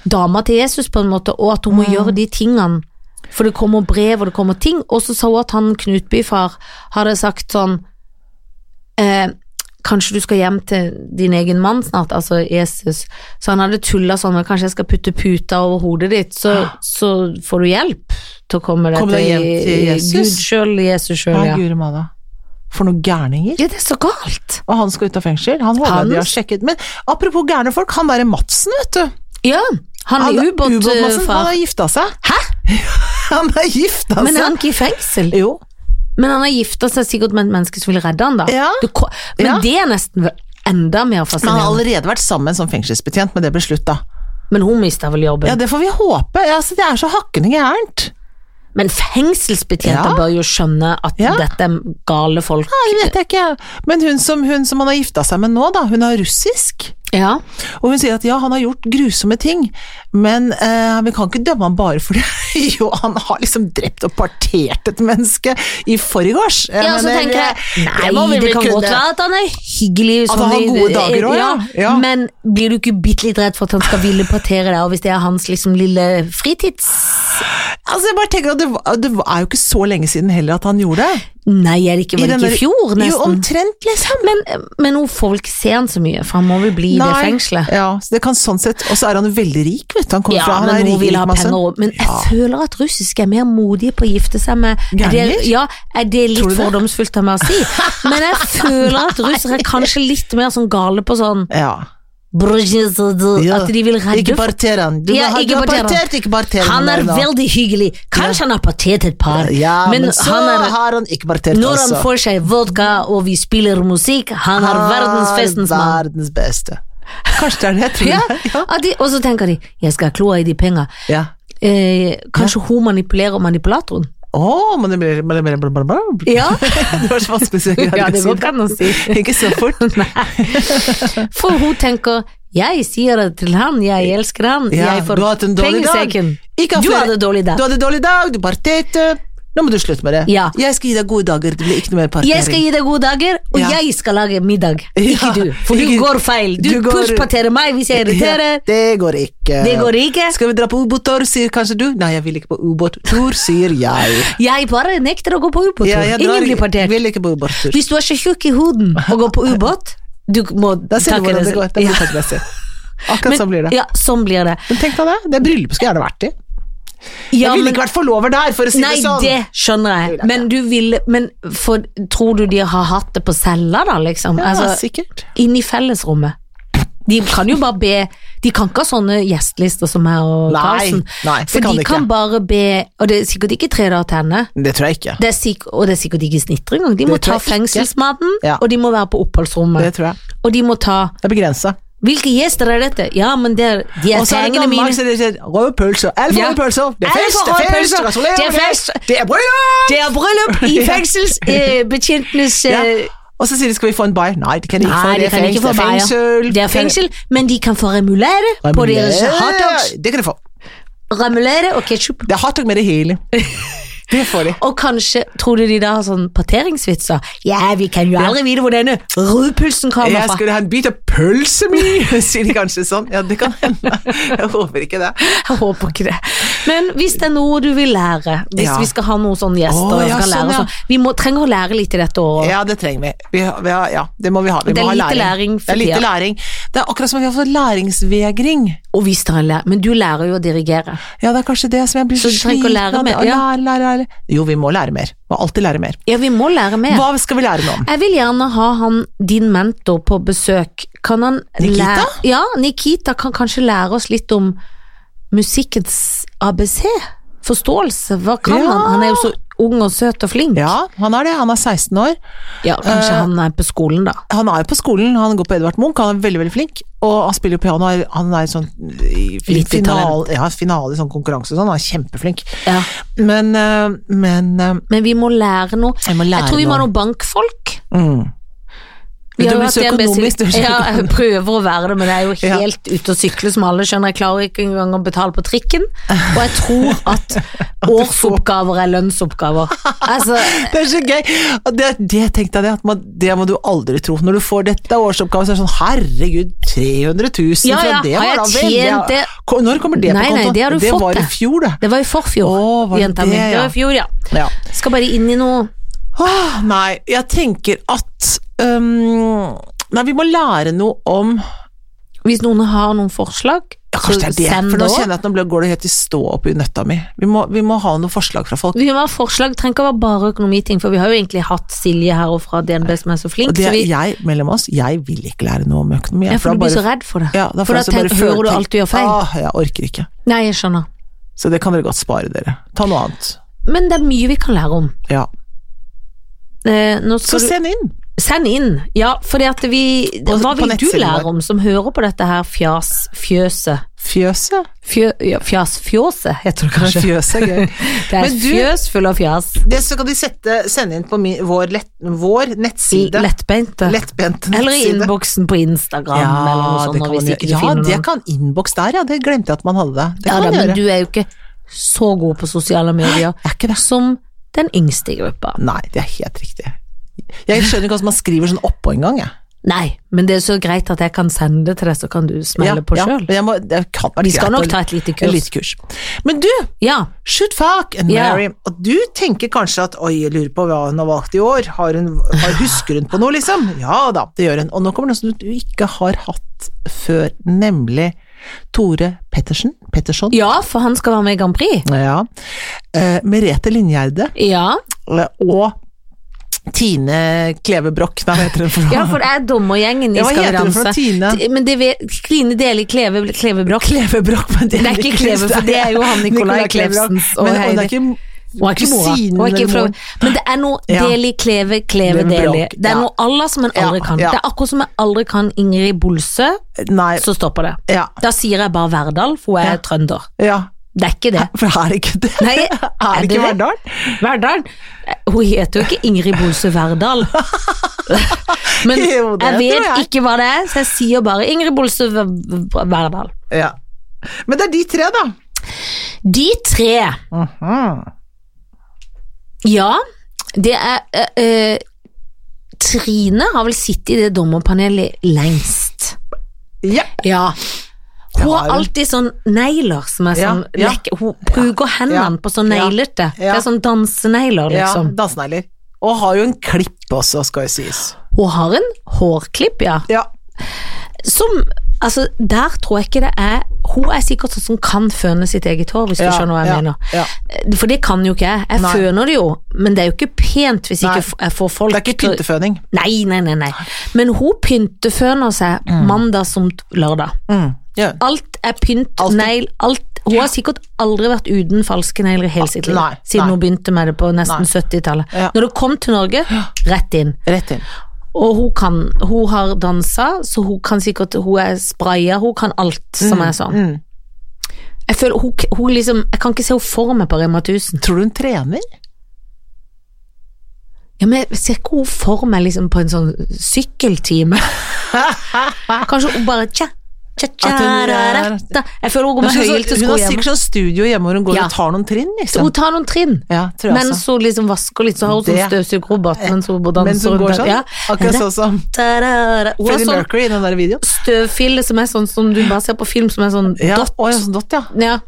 S2: dama til Jesus, på en måte, og at hun må
S1: Mm.
S2: gjøre de tingene. For det kommer brev, og det kommer ting. Og så sa hun at han Knutbyfar hadde sagt sånn eh, Kanskje du skal hjem til din egen mann snart, altså Jesus. Så han hadde tulla sånn med kanskje jeg skal putte puta over hodet ditt, så, så får du hjelp til å komme deg
S1: Kom Ah. deg hjem til Jesus.
S2: Gud sjøl, Jesus sjøl,
S1: Ja,
S2: ja.
S1: guri malla. For noen gærninger.
S2: Ja, det er så galt.
S1: Og han skal ut av fengsel. Han håper
S2: Han-
S1: jeg de har sjekket. Men apropos gærne folk, han derre Madsen, vet du.
S2: Ja, han
S1: Han-
S2: er eh,
S1: ubåtmassen, Han
S2: ubåtfar.
S1: har gifta seg.
S2: Hæ?
S1: Han har gifta
S2: Men er
S1: seg!
S2: han ikke i fengsel?
S1: Jo.
S2: Men han har gifta seg sikkert med et menneske som vil redde han da.
S1: Ja.
S2: Du ko- men
S1: Ja.
S2: det er nesten enda mer
S1: Men han har
S2: fascinerende.
S1: allerede vært sammen med en sånn fengselsbetjent, men det ble slutt, da.
S2: Men hun mista vel jobben.
S1: Ja, det får vi håpe. Ja, altså, det er så hakkende gærent.
S2: Men fengselsbetjenter
S1: Ja.
S2: bør jo skjønne at
S1: Ja.
S2: dette er gale folk.
S1: Nei, det vet jeg ikke. Men hun som, hun som han har gifta seg med nå, da, hun er russisk.
S2: Ja.
S1: Og hun sier at ja, han har gjort grusomme ting, men eh, vi kan ikke dømme han bare for det. jo, han har liksom drept og partert et menneske i forgårs. Eh, Jeg
S2: ja, så
S1: mener,
S2: tenker jeg
S1: det
S2: Nei,
S1: må vi
S2: det
S1: vel
S2: kan
S1: kunne.
S2: godt være at han er hyggelig.
S1: At
S2: sånn
S1: han har
S2: i-
S1: gode dager også,
S2: ja.
S1: ja. Ja.
S2: Men blir du ikke bitte litt redd for at han skal ville partere deg, og hvis det er hans liksom lille fritids...
S1: Altså, jeg bare tenker at det, var- det er jo ikke så lenge siden heller at han gjorde det.
S2: Nei, er det ikke, var det
S1: den
S2: ikke
S1: der-
S2: i fjor,
S1: Jo,
S2: nesten?
S1: omtrent, liksom.
S2: Men, men hun får vel ikke se han så mye, for han må vel bli i det fengselet.
S1: Ja, så det kan sånn sett Og så er han jo veldig rik, vet du. Han kommer
S2: Ja,
S1: fra han er
S2: men hun
S1: rik,
S2: vil ha
S1: rik masse.
S2: penger òg. Men altså, jeg føler at russiske er mer modige på å gifte seg med er det,
S1: Gærninger?
S2: ja, er det
S1: Tror
S2: litt
S1: du det?
S2: fordomsfullt av meg å si, men jeg føler at russere er kanskje litt mer sånn gale på sånn
S1: Ja. Ja.
S2: At de vil redde
S1: Ikke parter han. Du,
S2: Ja,
S1: har-
S2: ikke
S1: du har
S2: parter han.
S1: partert, ikke parter
S2: Han er
S1: Nei, da.
S2: veldig hyggelig. Kanskje han har partert et par,
S1: Ja, men, så
S2: han er,
S1: har han ikke altså. partert
S2: når han
S1: også.
S2: får seg vodka og vi spiller musikk, han er verdensfestens mann.
S1: Verdens beste. Kanskje det er det jeg tror.
S2: Ja,
S1: det er.
S2: at de, og så tenker de 'jeg skal kloa i de penga'.
S1: Ja.
S2: Eh, kanskje hun manipulerer manipulatoren?
S1: Å, men det blir bla, bla, bla, bla, bla.
S2: Ja.
S1: Det var så vanskelig å si.
S2: Ja, det går ikke an å si.
S1: Ikke så fort.
S2: For hun tenker 'jeg sier det til han, jeg elsker han,
S1: Ja,
S2: jeg får
S1: du har hatt en dårlig dag.
S2: pengesekken'.
S1: Ikke ha
S2: Du
S1: flere-
S2: hadde dårlig dag.
S1: Du hadde dårlig dag, du parterte. Nå må du slutte med det.
S2: Ja.
S1: Jeg skal gi deg gode dager, det blir ikke noe mer partering.
S2: Jeg skal gi deg gode dager, og
S1: Ja.
S2: jeg skal lage middag. Ikke
S1: Ja,
S2: du, for du
S1: ikke-
S2: går feil. Du,
S1: du går-
S2: pushparterer meg hvis jeg irriterer.
S1: Ja, det går ikke.
S2: Det går ikke.
S1: Skal vi dra på ubåttur, sier kanskje du. Nei, jeg vil ikke på ubåttur, sier jeg.
S2: Jeg bare nekter å gå på ubåttur.
S1: Ja, jeg drar-
S2: Ingen blir partert.
S1: Vil ikke på ubåttur.
S2: Hvis du er så tjukk i huden og går på ubåt, du må
S1: Da ser du
S2: takke
S1: hvordan det går. Da blir
S2: Ja.
S1: det takknemessig. Akkurat sånn blir det.
S2: Ja, sånn blir det.
S1: Men tenk deg det, det bryllupet skulle jeg gjerne vært i.
S2: Ja,
S1: jeg ville
S2: men-
S1: ikke vært forlover der, for å si
S2: Nei,
S1: det sånn.
S2: det skjønner jeg. Men du vil Men for, tror du de har hatt det på cella, da, liksom?
S1: Ja,
S2: altså,
S1: sikkert.
S2: inn i fellesrommet. De kan jo bare be De kan ikke ha sånne gjestelister som meg og
S1: Nei,
S2: Karlsen.
S1: nei, det
S2: For
S1: kan
S2: de
S1: de
S2: kan
S1: ikke.
S2: bare be Og det er sikkert ikke tre dager til henne.
S1: Det tror jeg ikke.
S2: Det er sikk- og det er sikkert ikke snitter engang. De må
S1: Det
S2: ta
S1: tror jeg ikke.
S2: fengselsmaten,
S1: Ja.
S2: og de må være på oppholdsrommet.
S1: Det tror jeg.
S2: Og de må ta
S1: Det er begrensa.
S2: Hvilke gjester er dette? Ja, men det er, de er
S1: Og så er det
S2: pengene
S1: Danmark,
S2: mine.
S1: så det sier røde pølser. Alle får
S2: Ja.
S1: røde pølser. Det er
S2: Alle
S1: fest,
S2: får
S1: det
S2: røde
S1: er fest,
S2: pølser.
S1: gratulerer
S2: Det er
S1: med
S2: fest.
S1: Det er bryllup!
S2: Det er bryllup i fengselsbetjentenes
S1: Ja.
S2: eh,
S1: Og så sier de skal vi få en bayer? Nei, det kan de ikke få.
S2: Nei,
S1: Det
S2: de
S1: er
S2: kan ikke
S1: fengsel.
S2: få
S1: Det er
S2: beier.
S1: fengsel.
S2: Det er fengsel, men de kan få remulere på deres hotdogs.
S1: Det kan de få.
S2: Remulere og ketsjup.
S1: Det er hotdog med det hele. Det får de.
S2: Og kanskje, tror du de da har sånn parteringsvitser? Ja, vi kan jo aldri vite hvor denne rødpulsen kommer
S1: Jeg
S2: fra.
S1: skulle ha en bit av pølse mi, sier de kanskje sånn. Ja, det kan hende. Jeg håper ikke det.
S2: Jeg håper ikke det. Men hvis det er noe du vil lære, hvis
S1: Ja.
S2: vi skal ha noen sånne gjester
S1: Å,
S2: og
S1: ja,
S2: skal
S1: sånn,
S2: lære,
S1: ja.
S2: oss- Vi må, trenger å lære litt i dette året.
S1: Ja, det trenger vi. vi, har- vi har, ja, det må vi ha. Vi
S2: Det er
S1: må ha
S2: lite læring for
S1: det er lite
S2: tida.
S1: læring. Det er akkurat som vi har fått læringsvegring.
S2: Og hvis det er læ- Men du lærer jo å dirigere.
S1: Ja, det er kanskje det som jeg blir
S2: Så du trenger ikke å lære
S1: sliten av det.
S2: mer, ja.
S1: Lære, lære, lære. Jo, vi må lære mer. Må alltid lære mer.
S2: Ja, vi må lære mer.
S1: Hva skal vi lære nå?
S2: Jeg vil gjerne ha han, din mentor, på besøk. Kan han
S1: Nikita?
S2: Lære, ja, Nikita kan kanskje lære oss litt om musikkens ABC. Forståelse. Hva kan
S1: Ja.
S2: han? Han er jo så ung og søt og flink.
S1: Ja, han er det. Han er 16 år.
S2: Ja, kanskje
S1: Eh,
S2: han er på skolen, da.
S1: Han er jo på skolen, han går på Edvard Munch, han er veldig veldig flink. Og han spiller jo piano, er- han er sånn i fin-
S2: Lite
S1: final,
S2: talent.
S1: ja, finale i sånn konkurranse og sånn, han er kjempeflink.
S2: Ja.
S1: Men, eh, men eh,
S2: Men vi må lære noe.
S1: Jeg må lære
S2: tror vi må ha
S1: noe.
S2: noen bankfolk.
S1: mm. Men du
S2: jo
S1: blir
S2: hatt
S1: så
S2: DNB sin-
S1: økonomisk, du blir så
S2: Ja, jeg prøver å være det, men jeg er jo
S1: Ja.
S2: helt ute å sykle, som alle skjønner. Jeg klarer ikke engang å betale på trikken. Og jeg tror at årsoppgaver er lønnsoppgaver. Altså,
S1: Det er så gøy! Og det, det tenkte jeg det, at man, det må du aldri tro. Når du får dette årsoppgaven, så er det sånn herregud, 300
S2: Ja,
S1: 000
S2: ja,
S1: fra det
S2: har
S1: var
S2: jeg
S1: da veldig-
S2: tjent det?
S1: Ko- Når kommer det
S2: Nei,
S1: på
S2: nei,
S1: kontoen?
S2: det har du fått,
S1: var i
S2: det.
S1: fjor, det.
S2: det var i forfjor,
S1: Å, var det
S2: jenta
S1: det,
S2: mi. Det
S1: ja.
S2: var i fjor, ja.
S1: Ja.
S2: Skal bare inn i noe
S1: Åh, nei, jeg tenker at øhm, Nei, vi må lære noe om
S2: Hvis noen har noen forslag,
S1: Ja, kanskje det er det,
S2: send
S1: for
S2: det
S1: nå
S2: òg.
S1: kjenner jeg at nå ble- går det helt i stå opp i nøtta mi. Vi må, vi må ha noen forslag fra folk.
S2: Vi må ha forslag, trenger ikke å være bare økonomiting, for vi har jo egentlig hatt Silje her og fra DNB som er så flink.
S1: Og det
S2: så
S1: er
S2: vi,
S1: jeg, mellom oss, jeg vil ikke lære noe om økonomi.
S2: ja,
S1: jeg,
S2: for
S1: da
S2: du blir
S1: bare-
S2: så redd for det.
S1: Ja, da
S2: for
S1: får
S2: da
S1: jeg så bare
S2: tenk, hører du
S1: følte-
S2: alt du gjør feil.
S1: Åh, jeg orker ikke.
S2: Nei, jeg skjønner.
S1: Så det kan dere godt spare dere. Ta noe annet.
S2: Men det er mye vi kan lære om.
S1: Ja.
S2: Eh, nå skal
S1: Så
S2: du,
S1: send inn.
S2: send inn, ja, fordi at vi
S1: På-
S2: Hva
S1: på
S2: vil du
S1: nettsiden
S2: lære
S1: vår.
S2: om som hører på dette her fjas... Fjøset?
S1: Fjøset.
S2: Fjø, ja, fjas... Fjåset, heter det kanskje.
S1: Fjøset er gøy.
S2: Det er
S1: Men du-
S2: fjøs full av fjas.
S1: Det så kan de sette, sende inn på mi, vår, lett, vår nettside.
S2: Lettbeinte.
S1: Lettbent
S2: Eller i
S1: nettside.
S2: innboksen på Instagram eller noe sånt.
S1: det
S2: og
S1: kan,
S2: hvis
S1: man
S2: ikke
S1: gjøre.
S2: du
S1: ja,
S2: finner
S1: det
S2: noen.
S1: kan innboks der, ja. Det glemte jeg at man hadde. Det, det
S2: Ja,
S1: kan
S2: da,
S1: man
S2: men
S1: gjøre.
S2: du er jo ikke så god på sosiale medier
S1: Jeg er ikke det.
S2: som den yngste i gruppa.
S1: Nei, det er helt riktig. Jeg skjønner ikke hvordan man skriver sånn oppå engang, jeg.
S2: Nei, men det er så greit at jeg kan sende det til deg, så kan du smelle på
S1: ja,
S2: sjøl.
S1: men jeg må- det kan være
S2: Vi skal
S1: greit
S2: nok
S1: å-
S2: ta et lite
S1: et
S2: kurs.
S1: lite kurs. Men du,
S2: Ja.
S1: shoot fuck and
S2: Ja.
S1: marry. Og du tenker kanskje at oi, jeg lurer på hva hun har valgt i år. Har hun, har, husker hun på noe, liksom? Ja da, det gjør hun. Og nå kommer det noe som du ikke har hatt før, nemlig Tore Pettersen. Petterson.
S2: ja, for han skal være med i Grand Prix.
S1: Ja. Eh, Merete Lingjerde
S2: Ja,
S1: eh, og Tine Kleve Broch, nei, hva heter hun for noe?
S2: ja for det er dommergjengen i
S1: Ja, hva
S2: Skal vi
S1: heter hun for noe?
S2: danse.
S1: Tine?
S2: T- Men det vet Trine Deli Kleve, Klevebrokk.
S1: Klevebrokk, men det,
S2: Det er ikke Kleve, for det er jo han Nicolai Klevsens og
S1: og Men og det
S2: Heidi.
S1: er ikke
S2: Hun er ikke mora.
S1: kusinen
S2: Hun er ikke
S1: eller
S2: fra,
S1: moren.
S2: men det er noe
S1: Ja.
S2: Deli Kleve, Kleve
S1: Klevebrokk,
S2: Deli. Det er
S1: ja.
S2: noe Allah som en aldri
S1: Ja,
S2: kan.
S1: ja.
S2: Det er akkurat som jeg aldri kan Ingrid Bolsø,
S1: Nei,
S2: så stopper det.
S1: ja,
S2: Da sier jeg bare Verdal, for hun er
S1: Ja.
S2: trønder.
S1: ja.
S2: Det er ikke det.
S1: For er det ikke det?
S2: Nei,
S1: er det ikke Verdal?
S2: Verdal? Eh, Hun heter jo ikke Ingrid Bolse Verdal. Men
S1: Jo, det
S2: jeg
S1: tror jeg.
S2: vet ikke hva det er, så jeg sier bare Ingrid Bolse V- V- Verdal.
S1: Ja. Men det er de tre, da.
S2: De tre,
S1: Mhm.
S2: ja, det er eh, eh, Trine har vel sittet i det dommerpanelet lengst.
S1: Ja.
S2: Ja. Hun
S1: Det har
S2: har
S1: hun.
S2: alltid sånn negler som er
S1: Ja,
S2: sånn
S1: ja.
S2: lekke. Hun bruker hendene
S1: ja,
S2: på sånn
S1: ja,
S2: neglete. Det
S1: ja.
S2: er sånn dansenegler,
S1: ja
S2: liksom.
S1: Dansenegler. Og har jo en klipp også, skal jo sies.
S2: Hun har en hårklipp, ja.
S1: Ja.
S2: Som Altså, der tror jeg ikke det er Hun er sikkert sånn som kan føne sitt eget hår, hvis
S1: ja,
S2: du skjønner hva jeg
S1: ja,
S2: mener. Eh,
S1: Ja.
S2: For det kan jo ikke jeg. Jeg
S1: Nei.
S2: føner det jo, men det er jo ikke pent hvis
S1: Nei.
S2: ikke f- jeg får folk
S1: Det er ikke
S2: til å-
S1: pynteføning.
S2: Nei, nei, nei, nei. Men hun pynteføner seg mandag som t- lørdag.
S1: Mm. Ja.
S2: Alt er pynt,
S1: Alt er-
S2: negl, alt Hun har sikkert aldri vært uten falske negler i hele sitt liv,
S1: Ah, Nei,
S2: siden
S1: nei.
S2: hun begynte med det på
S1: Nei.
S2: nesten 70-tallet.
S1: Ja.
S2: Når det kom til Norge, rett inn.
S1: Rett inn.
S2: Og hun kan, hun har dansa, så hun kan sikkert, hun er spraya, hun kan alt som er sånn.
S1: Mm.
S2: Jeg føler, hun, hun liksom, jeg kan ikke se henne for meg på Rema 1000.
S1: Tror du hun trener?
S2: Ja, men jeg ser ikke hun for meg liksom på en sånn sykkeltime. Kanskje hun bare tja, tja, tja,
S1: At hun er-
S2: ra, ra, da. Jeg føler hun går
S1: Hun,
S2: med høyhælte sko
S1: har
S2: hjemme.
S1: sikkert sånn studio hjemme hvor hun går
S2: Ja.
S1: og tar noen trinn, liksom.
S2: Hun tar noen trinn.
S1: Ja, tror jeg
S2: Mens
S1: også.
S2: hun liksom vasker litt, så har hun sånn
S1: Det-
S2: støvsugerrobot mens hun danser.
S1: Mens hun
S2: rundt
S1: går
S2: der.
S1: sånn.
S2: Ja.
S1: Akkurat sånn som
S2: Da, da, da. Hun har
S1: Freddie
S2: sånn
S1: Mercury i den der videoen.
S2: støvfille som er sånn som du bare ser på film, som er sånn
S1: Ja,
S2: dott.
S1: å, ja, sånn dott, ja.
S2: Ja.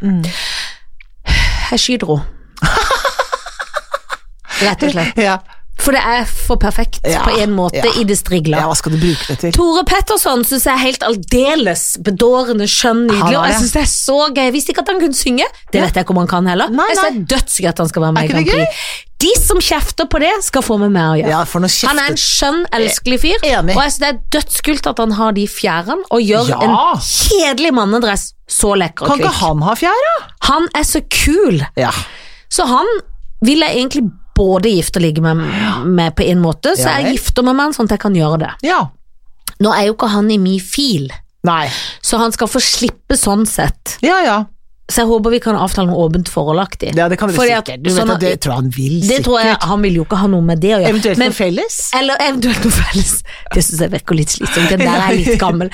S2: jeg skyter henne. Rett og slett.
S1: Ja.
S2: For det er for perfekt
S1: Ja,
S2: på en måte
S1: ja.
S2: i det strigla.
S1: ja, hva skal du bruke det til?
S2: Tore Petterson syns jeg er helt aldeles bedårende skjønn
S1: Han
S2: nydelig,
S1: er
S2: og jeg
S1: det.
S2: synes det er så gøy. Jeg visste ikke at han kunne synge, det
S1: Ja.
S2: vet jeg ikke om han kan heller.
S1: Nei,
S2: jeg synes
S1: nei.
S2: det er dødsgøy at han skal være
S1: Er
S2: med i
S1: ikke det
S2: Grand Prix. De som kjefter på det, skal få med meg å gjøre.
S1: Ja, for noe
S2: Han er en
S1: kjeftet.
S2: skjønn, elskelig fyr,
S1: Eh, Enig.
S2: og jeg synes det er dødskult at han har de fjærene og gjør
S1: Ja.
S2: en kjedelig mannedress så lekker
S1: Kan
S2: og
S1: ikke
S2: kvikk.
S1: han ha fjæra?
S2: Han er så kul,
S1: Ja.
S2: så han vil jeg egentlig både gifte og ligge med, med på en måte, så
S1: Ja vel.
S2: jeg gifter meg med han sånn at jeg kan gjøre det.
S1: ja.
S2: Nå er jo ikke han i min fil,
S1: Nei.
S2: så han skal få slippe sånn sett.
S1: Ja, ja.
S2: Så jeg håper vi kan avtale noe åpent forholdaktig.
S1: Ja, det kan dere
S2: Fordi at-
S1: sikkert. Du vet
S2: sånn
S1: at det tror jeg han vil,
S2: det
S1: sikkert.
S2: tror jeg Han vil jo ikke ha noe med det å gjøre.
S1: Eventuelt
S2: Men-
S1: noe felles?
S2: eller eventuelt noe felles. Det syns jeg virker litt slitsomt. Den der er litt gammel.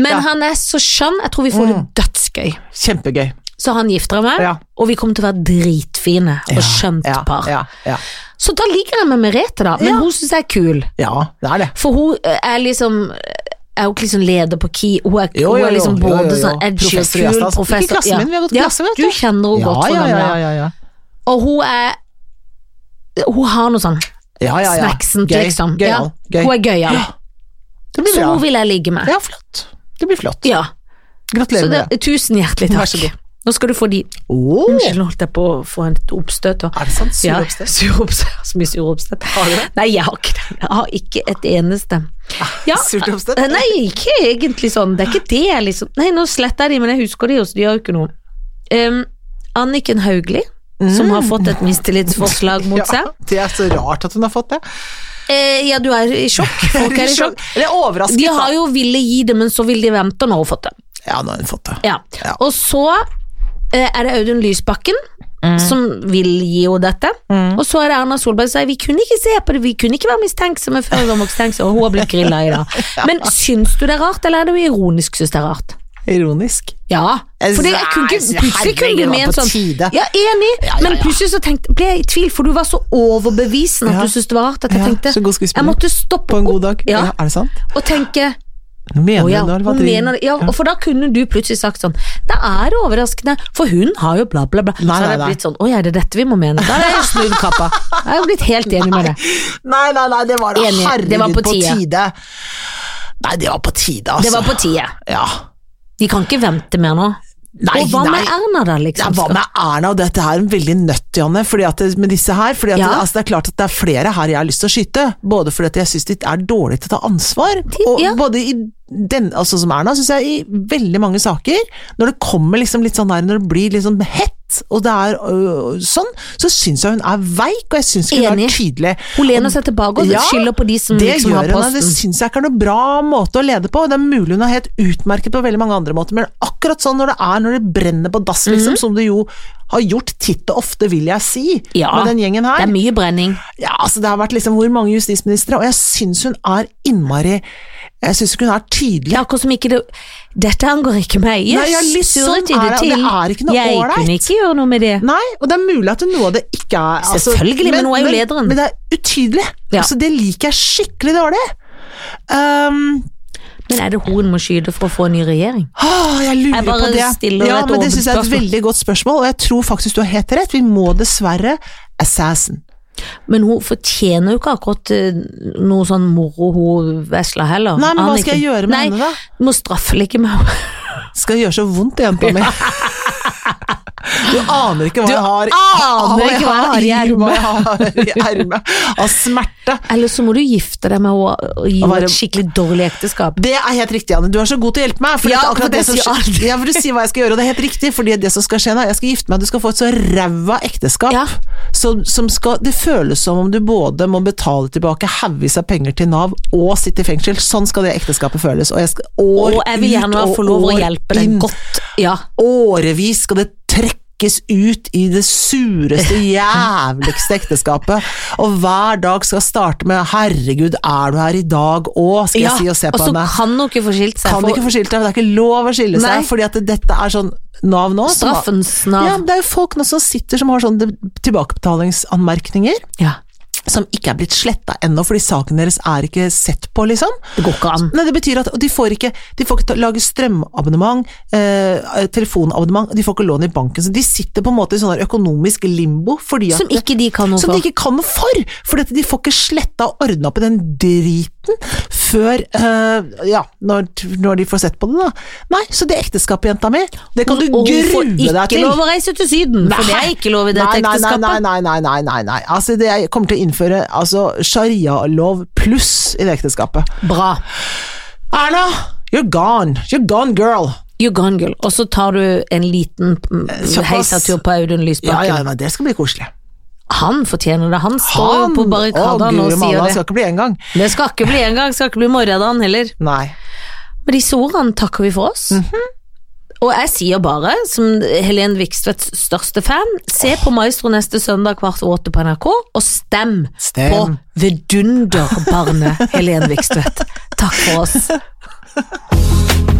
S2: Men
S1: Ja.
S2: han er så skjønn. Jeg tror vi får det dødsgøy.
S1: Kjempegøy.
S2: Så han gifter jeg meg,
S1: Ja.
S2: og vi kommer til å være dritfine og skjønt
S1: ja,
S2: par.
S1: Ja, ja.
S2: Så da ligger jeg med Merete, da. Men
S1: Ja.
S2: hun syns jeg er kul.
S1: ja, det er det.
S2: For hun eh, er liksom er jo ikke liksom leder på KI, hun er,
S1: Jo,
S2: hun
S1: jo,
S2: er
S1: jo,
S2: liksom
S1: jo, jo,
S2: både
S1: jo.
S2: sånn edgy og
S1: Professor i
S2: kul
S1: Gjesdal. Ikke
S2: professor.
S1: klassen min, vi har gått klasse, vet du.
S2: Du kjenner henne
S1: Ja,
S2: godt fra
S1: ja,
S2: gamle.
S1: ja, ja, ja.
S2: Og hun er Hun har noe sånn
S1: ja, ja, ja.
S2: snacksent,
S1: Gøy,
S2: liksom.
S1: Gøy,
S2: ja.
S1: gøy.
S2: Hun er gøyal,
S1: Ja, Det blir
S2: så hun
S1: bra.
S2: vil jeg ligge med.
S1: Ja, flott. Det blir flott.
S2: Ja. Så
S1: Gratulerer
S2: det,
S1: med det.
S2: tusen hjertelig
S1: Vær så
S2: takk.
S1: god.
S2: Nå skal du få de
S1: Åh,
S2: Unnskyld, nå holdt jeg på å få et oppstøt. Og...
S1: er det sant?
S2: Ja,
S1: Suroppsted?
S2: sur oppstøt. Så mye sur oppstøt.
S1: Har du det? Ah,
S2: Nei, jeg har ikke det. Jeg har ikke et eneste. Ja,
S1: Surt oppstøt?
S2: eh, Nei, ikke egentlig sånn. Det er ikke det, jeg liksom. Nei, nå sletter jeg de, men jeg husker de jo, så de gjør jo ikke noe. Em, Anniken Hauglie, som har fått et mistillitsforslag mot
S1: Mm. Ja,
S2: seg.
S1: det er så rart at hun har fått det.
S2: Eh, ja, du er i sjokk. Folk er i sjokk.
S1: Eller overrasket,
S2: De har
S1: da.
S2: jo ville gi det, men så vil de vente når hun har fått det.
S1: Ja, nå har hun fått det.
S2: Ja.
S1: Ja.
S2: Og så eh, er det Audun Lysbakken
S1: Mm.
S2: som vil gi henne dette. Og så er det Erna Solberg som sier vi kunne ikke se på det, vi kunne ikke være mistenksomme før vi var mistenksomme, og hun har blitt grilla i dag. Men syns du det er rart, eller er det jo ironisk syns det er rart?
S1: Ironisk.
S2: Ja,
S1: Jeg
S2: for det jeg kunne
S1: synes-
S2: ikke, plutselig kunne
S1: herregud,
S2: du
S1: det var
S2: mene
S1: på
S2: sånn
S1: tide.
S2: Ja, enig, men plutselig så tenkte, ble jeg i tvil, for du var så overbevisende at
S1: Ja.
S2: du syntes det var rart at jeg
S1: Ja,
S2: tenkte
S1: så god
S2: Jeg
S1: skuespiller.
S2: måtte
S1: På
S2: stoppe
S1: en
S2: opp
S1: god dag.
S2: Ja.
S1: Ja, er det sant?
S2: og tenke
S1: Nå mener
S2: å ja,
S1: hun,
S2: hun mener det. Ja, og for da kunne du plutselig sagt sånn Da er det overraskende, for hun har jo bla, bla, bla.
S1: Nei,
S2: så
S1: nei,
S2: hadde jeg
S1: nei.
S2: blitt sånn Å ja, er det dette vi må mene? Da hadde jeg snudd kappa. Jeg har jo blitt helt enig med det.
S1: Nei, nei, nei, det var det.
S2: Enig.
S1: Herregud,
S2: Det var på
S1: på
S2: tide.
S1: tide. Nei, det var på tide, altså.
S2: Det var på tide.
S1: Ja.
S2: De kan ikke vente mer nå.
S1: Nei,
S2: og hva
S1: nei.
S2: med Erna, da,
S1: Ja,
S2: liksom?
S1: hva med Erna og dette her er veldig nødt, Janne, fordi at det, med disse her? Fordi at
S2: Ja.
S1: det, altså, det er klart at det er flere her jeg har lyst til å skyte. Både fordi at jeg syns de er dårlige til å ta ansvar, og
S2: ja.
S1: både i den, altså som Erna, syns jeg i veldig mange saker, når det kommer liksom litt sånn der, når det blir litt sånn hett, og det er øh, sånn, så syns jeg hun er veik, og jeg syns ikke hun
S2: Enig.
S1: er tydelig.
S2: Hun lener seg tilbake og
S1: Ja,
S2: skylder på de som
S1: Det
S2: liksom har
S1: gjør hun, og det
S2: posten.
S1: syns jeg ikke er noe bra måte å lede på. Det er mulig hun er helt utmerket på veldig mange andre måter, men akkurat sånn når det er når det brenner på dass,
S2: Mhm.
S1: liksom, som det jo har gjort titt og ofte, vil jeg si,
S2: Ja,
S1: med den gjengen
S2: Det
S1: her.
S2: er mye brenning.
S1: Ja, altså det har vært liksom hvor mange justisministre, og jeg syns hun er innmari Jeg syns ikke hun er tydelig.
S2: Det er akkurat som ikke det Dette angår ikke meg. Jøss,
S1: Nei, ja, liksom
S2: surret i
S1: er det- og det
S2: til.
S1: er ikke noe
S2: jeg kunne
S1: ålreit.
S2: ikke gjøre noe med det.
S1: Nei, og det er mulig at noe av det ikke er altså-
S2: Selvfølgelig, men hun er jo lederen.
S1: Men, men det er utydelig.
S2: Ja.
S1: Altså, det liker jeg skikkelig dårlig. Um,
S2: Men er det hun må skyte for å få en ny regjering?
S1: Åh, Ah, jeg lurer
S2: Jeg bare
S1: på det.
S2: stiller
S1: ja,
S2: et
S1: men
S2: åpent
S1: det synes jeg er et
S2: spørsmål.
S1: veldig godt spørsmål, og jeg tror faktisk du har helt rett. Vi må dessverre assassin.
S2: Men hun fortjener jo ikke akkurat eh, noe sånn moro hun vesla heller.
S1: Nei, men hva
S2: Anniken.
S1: skal jeg gjøre med
S2: Nei,
S1: henne da?
S2: Du må straffeligge med henne.
S1: Skal gjøre så vondt i jenta mi. Du aner ikke hva jeg har
S2: aner ikke hva jeg har i
S1: i- hva jeg har i ermet av smerte.
S2: Eller så må du gifte deg med henne og gi
S1: Og
S2: henne
S1: være-
S2: et skikkelig dårlig ekteskap.
S1: Det er helt riktig, Anne. Du er så god til å hjelpe meg. fordi
S2: Ja,
S1: at
S2: for det
S1: som
S2: sier
S1: skje-
S2: alt.
S1: Ja, for du sier hva jeg skal gjøre, og det er helt riktig. Fordi det som skal skje nå, jeg skal gifte meg, du skal få et så ræva ekteskap.
S2: Ja.
S1: Som, som skal, det føles som om du både må betale tilbake haugvis av penger til Nav og sitte i fengsel. Sånn skal det ekteskapet føles. Og jeg, skal, år
S2: Og jeg vil gjerne
S1: ut og
S2: få lov å
S1: år
S2: hjelpe deg
S1: inn.
S2: godt. Ja.
S1: Årevis skal det trekkes ut i det sureste, jævligste ekteskapet. Og hver dag skal starte med 'herregud, er du her i dag òg', skal
S2: Ja,
S1: jeg si og se
S2: og
S1: på
S2: så
S1: henne
S2: kan hun ikke få skilt seg.
S1: kan
S2: for
S1: ikke få skilt deg, men det er ikke lov å skille
S2: Nei.
S1: seg, fordi at dette er sånn Nav nå som har-
S2: Straffens nav.
S1: Ja, men det er jo folk nå som sitter som har sånne tilbakebetalingsanmerkninger,
S2: Ja.
S1: som ikke er blitt sletta ennå, fordi saken deres er ikke sett på, liksom.
S2: Det går ikke an.
S1: Nei, det betyr at de får ikke, de får ikke ta- lage strømabonnement, eh, telefonabonnement, de får ikke lån i banken. Så de sitter på en måte i sånn der økonomisk limbo fordi at
S2: Som ikke de kan noe
S1: som
S2: for.
S1: de ikke kan noe for! For de får ikke sletta og ordna opp i den driten før eh, Ja, når, når de får sett på det, da. Nei, så det ekteskapet, jenta mi, det kan du
S2: Og hun
S1: grue
S2: får
S1: deg
S2: ikke
S1: til!
S2: lov å reise til Syden, for det er ikke lov i dette
S1: nei, nei,
S2: ekteskapet.
S1: Nei, nei, nei, nei, nei, nei. Altså, det, jeg kommer til å innføre altså, sharialov pluss i det ekteskapet.
S2: Bra.
S1: Erna, you're gone! You're gone, girl!
S2: You're gone, girl. Og så tar du en liten mm,
S1: Eh, Såpass.
S2: heisatur på Audun
S1: Ja,
S2: Lysbakken.
S1: ja, nei, det skal bli koselig.
S2: Han fortjener det. Han står jo på barrikadene og
S1: guri
S2: sier
S1: malla,
S2: det.
S1: skal ikke bli én gang.
S2: Det skal ikke bli engang, skal ikke bli morgendagen heller.
S1: Nei.
S2: Med disse ordene takker vi for oss. Og jeg sier bare, som Helen Vikstvedts største fan, se på Maestro neste søndag kvart over åtte på NRK, og stem,
S1: Stem.
S2: på vidunderbarnet Helen Vikstvedt. Takk for oss.